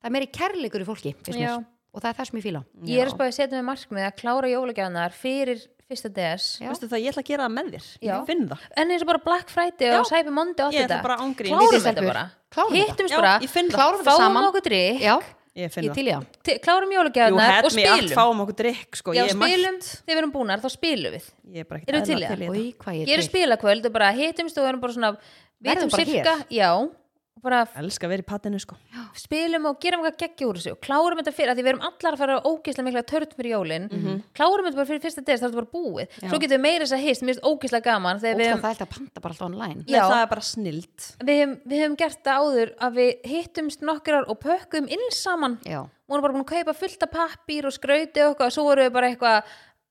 B: það er meiri kærleikur í fólki, finnst
C: Já.
B: mér, og það er það sem ég fíla.
C: Ég er að spáði að setja mig markmið að klára jólagjánar fyrir fyrsta DS
B: Já.
A: Veistu það, ég ætla að gera það með þér
C: Já.
A: Ég finn það
C: En eins og bara Black Friday og Cyber Monday og allt
A: Ég ætla
C: þetta.
A: bara ángrín
C: Klárum
B: Lítið
C: þetta
B: stelpur.
C: bara
B: Klárum þetta.
C: Hittumst
A: Já,
C: bara,
A: ég finn það
B: Klárum þetta
C: fáum
B: saman,
C: okkur drikk
B: já,
A: Ég finn
B: ég
A: það
B: til í það.
C: til- Klárum
A: Jú,
C: jólagjánar
A: hett
C: Hérna, og
A: mig allt,
C: spilum
A: fáum okkur drikk sko
C: Já,
A: Ég er mætt.
C: spilum, þegar við erum búnar þá spilum við
A: Ég er bara
C: Eru til í
A: eðlilega
C: það?
A: í
B: Í, hvað
C: Ég er
B: ég til.
C: spilakvöld og bara hittumst og erum bara svona
B: Verðum
C: vitum
B: bara
C: sirka, já og bara
A: þetta. Elska að vera í patinu sko
C: spilum og gerum eitthvað geggja úr þessu og klárum þetta fyrir að því við erum allar að fara á ógeðslega mikla törn fyrir jólin Mhm. klárum þetta bara fyrir fyrsta des, það er þetta bara búið svo getum við meira þess að hist, mér finnst ógeðslega gaman þegar
B: Ótt
C: við
B: að
C: höfum,
B: það er að panta bara alltaf online.
A: Nei,
C: Já.
A: Það er bara snild
C: við, höfum, við höfum gert það áður að við hittumst nokkrar og pökkum inn saman
B: Já,
C: vorum bara búin að kaupa fullt af pappír og skrauti og eitthvað og svo vorum við bara eitthvað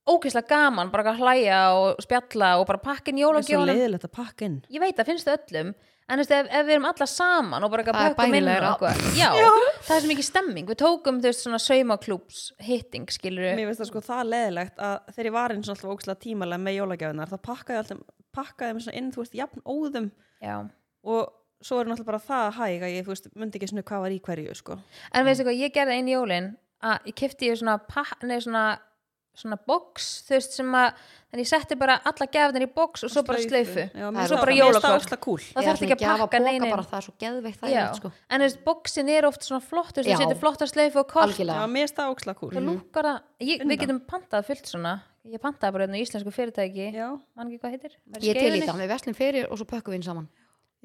C: ógeðslega gaman, bara að hlæja og spjalla og bara pakkin
A: Það er svo
C: jólagjónum
A: leiðilegt að pakka inn
C: ég veit það finnst það öllum en þú veist, ef, ef við erum alla saman og bara ekki
B: Það
C: að
B: er
C: pökkum inn og
B: bærilegra.
C: eitthvað já, það er sem ekki stemming, við tókum þú veist svona saumaklúps hitting skilur
A: Mér finnst það sko það leðilegt að þegar ég var eins og alltaf ógslag tímalega með jólagjafinar þá pakkaði ég alltaf, pakkaði mér svona inn, þú veist, jafn óðum
C: já.
A: og svo er náttúrulega bara það að hæg að ég, þú veist, mundi ekki svona hvað var í hverju, sko.
C: en veistu hvað, ég gerði einn jólin að ég kefti ég svona, pa- nei, svona svona box, þú veist sem að þannig ég setti bara alla gefnir í box og svo bara slaufu,
A: Já,
B: Það
A: mér
B: er
C: og
A: finnst
C: svo
A: það-
C: bara
A: mér finnst það
C: jólakort
A: ógslag kúl.
C: þá
B: Ég
C: þarf
B: ætla að
C: ekki að
B: gefa
C: pakka
B: poka
C: neinin
B: bara, það er svo geðveikt, það er
C: Já.
B: gott, sko.
C: en þú veist, boxin er oft svona flott þú veist,
B: Já.
C: þú setur flottar sleifu og kort
B: Algjörlega.
A: Já, mér finnst það ógslag kúl.
C: þá lúkar það, ég,
A: Undan.
C: við getum pantað fullt svona ég pantaði bara einu íslensku fyrirtæki
A: Já,
C: mann ekki hvað heitir Var
B: Ég til í
C: Skeifunni?
B: það, við veslum fyrir og svo pökkum við inn saman.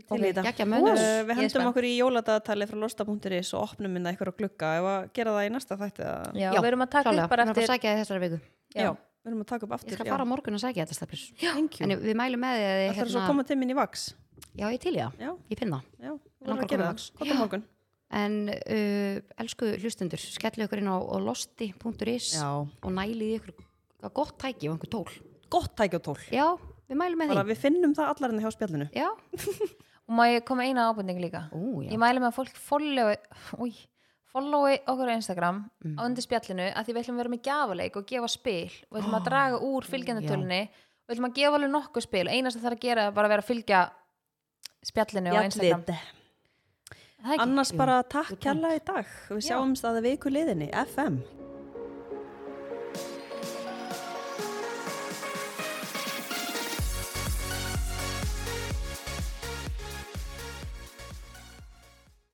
A: ég til í
B: Ok,
A: þetta.
B: geggja mönnur.
A: Uh, Við
C: Ég er
A: hendum
C: spennt.
A: okkur í jóladagatali frá losta.is og opnum minna ykkur á glugga ef að gera það í næsta þætti. eða-
C: já, við erum að taka
B: klálega.
C: upp bara
B: Við erum að
C: eftir
B: fara að sækja þið þessari viku.
C: já.
A: Já, við erum að taka upp aftur.
B: Ég skal
A: já.
B: fara á morgun að sækja þetta staflis.
A: Thank you.
B: En hérna- við mælum með því að þið
A: Það er svo að koma til minn í vaks.
B: Já, ég til ég það.
A: Já,
B: Ég finn það.
A: já, við
B: Langar
A: erum
B: að
A: að gera
B: koma í
A: það. Kota morgun.
B: En uh, elsku hlustundur, skellu ykkur inn á, á losti.is
A: Já.
B: og nælið í ykkur eitthvað gott tæki og einhver tól.
A: Gott tæki og tól.
B: Já, við mælum með
A: Bara
B: því.
A: við finnum það allar henni hjá spjallinu.
B: Já.
C: og má ég koma eina ábending líka
B: Ú, já.
C: ég mæli með að fólk followi új, followi okkur á Instagram
B: Mhm.
C: á undir spjallinu að því við ætlum að vera með gjafaleik og gefa spil og við ætlum
B: Ah,
C: að draga úr fylgjandutölunni og við ætlum að gefa alveg nokkuð spil einast að það er að gera er bara að vera að fylgja spjallinu á Instagram
A: Bjallið.
C: Það er ekki-
A: Annars bara takk kjalla í dag. Við sjáumst að viku liðinni. FM.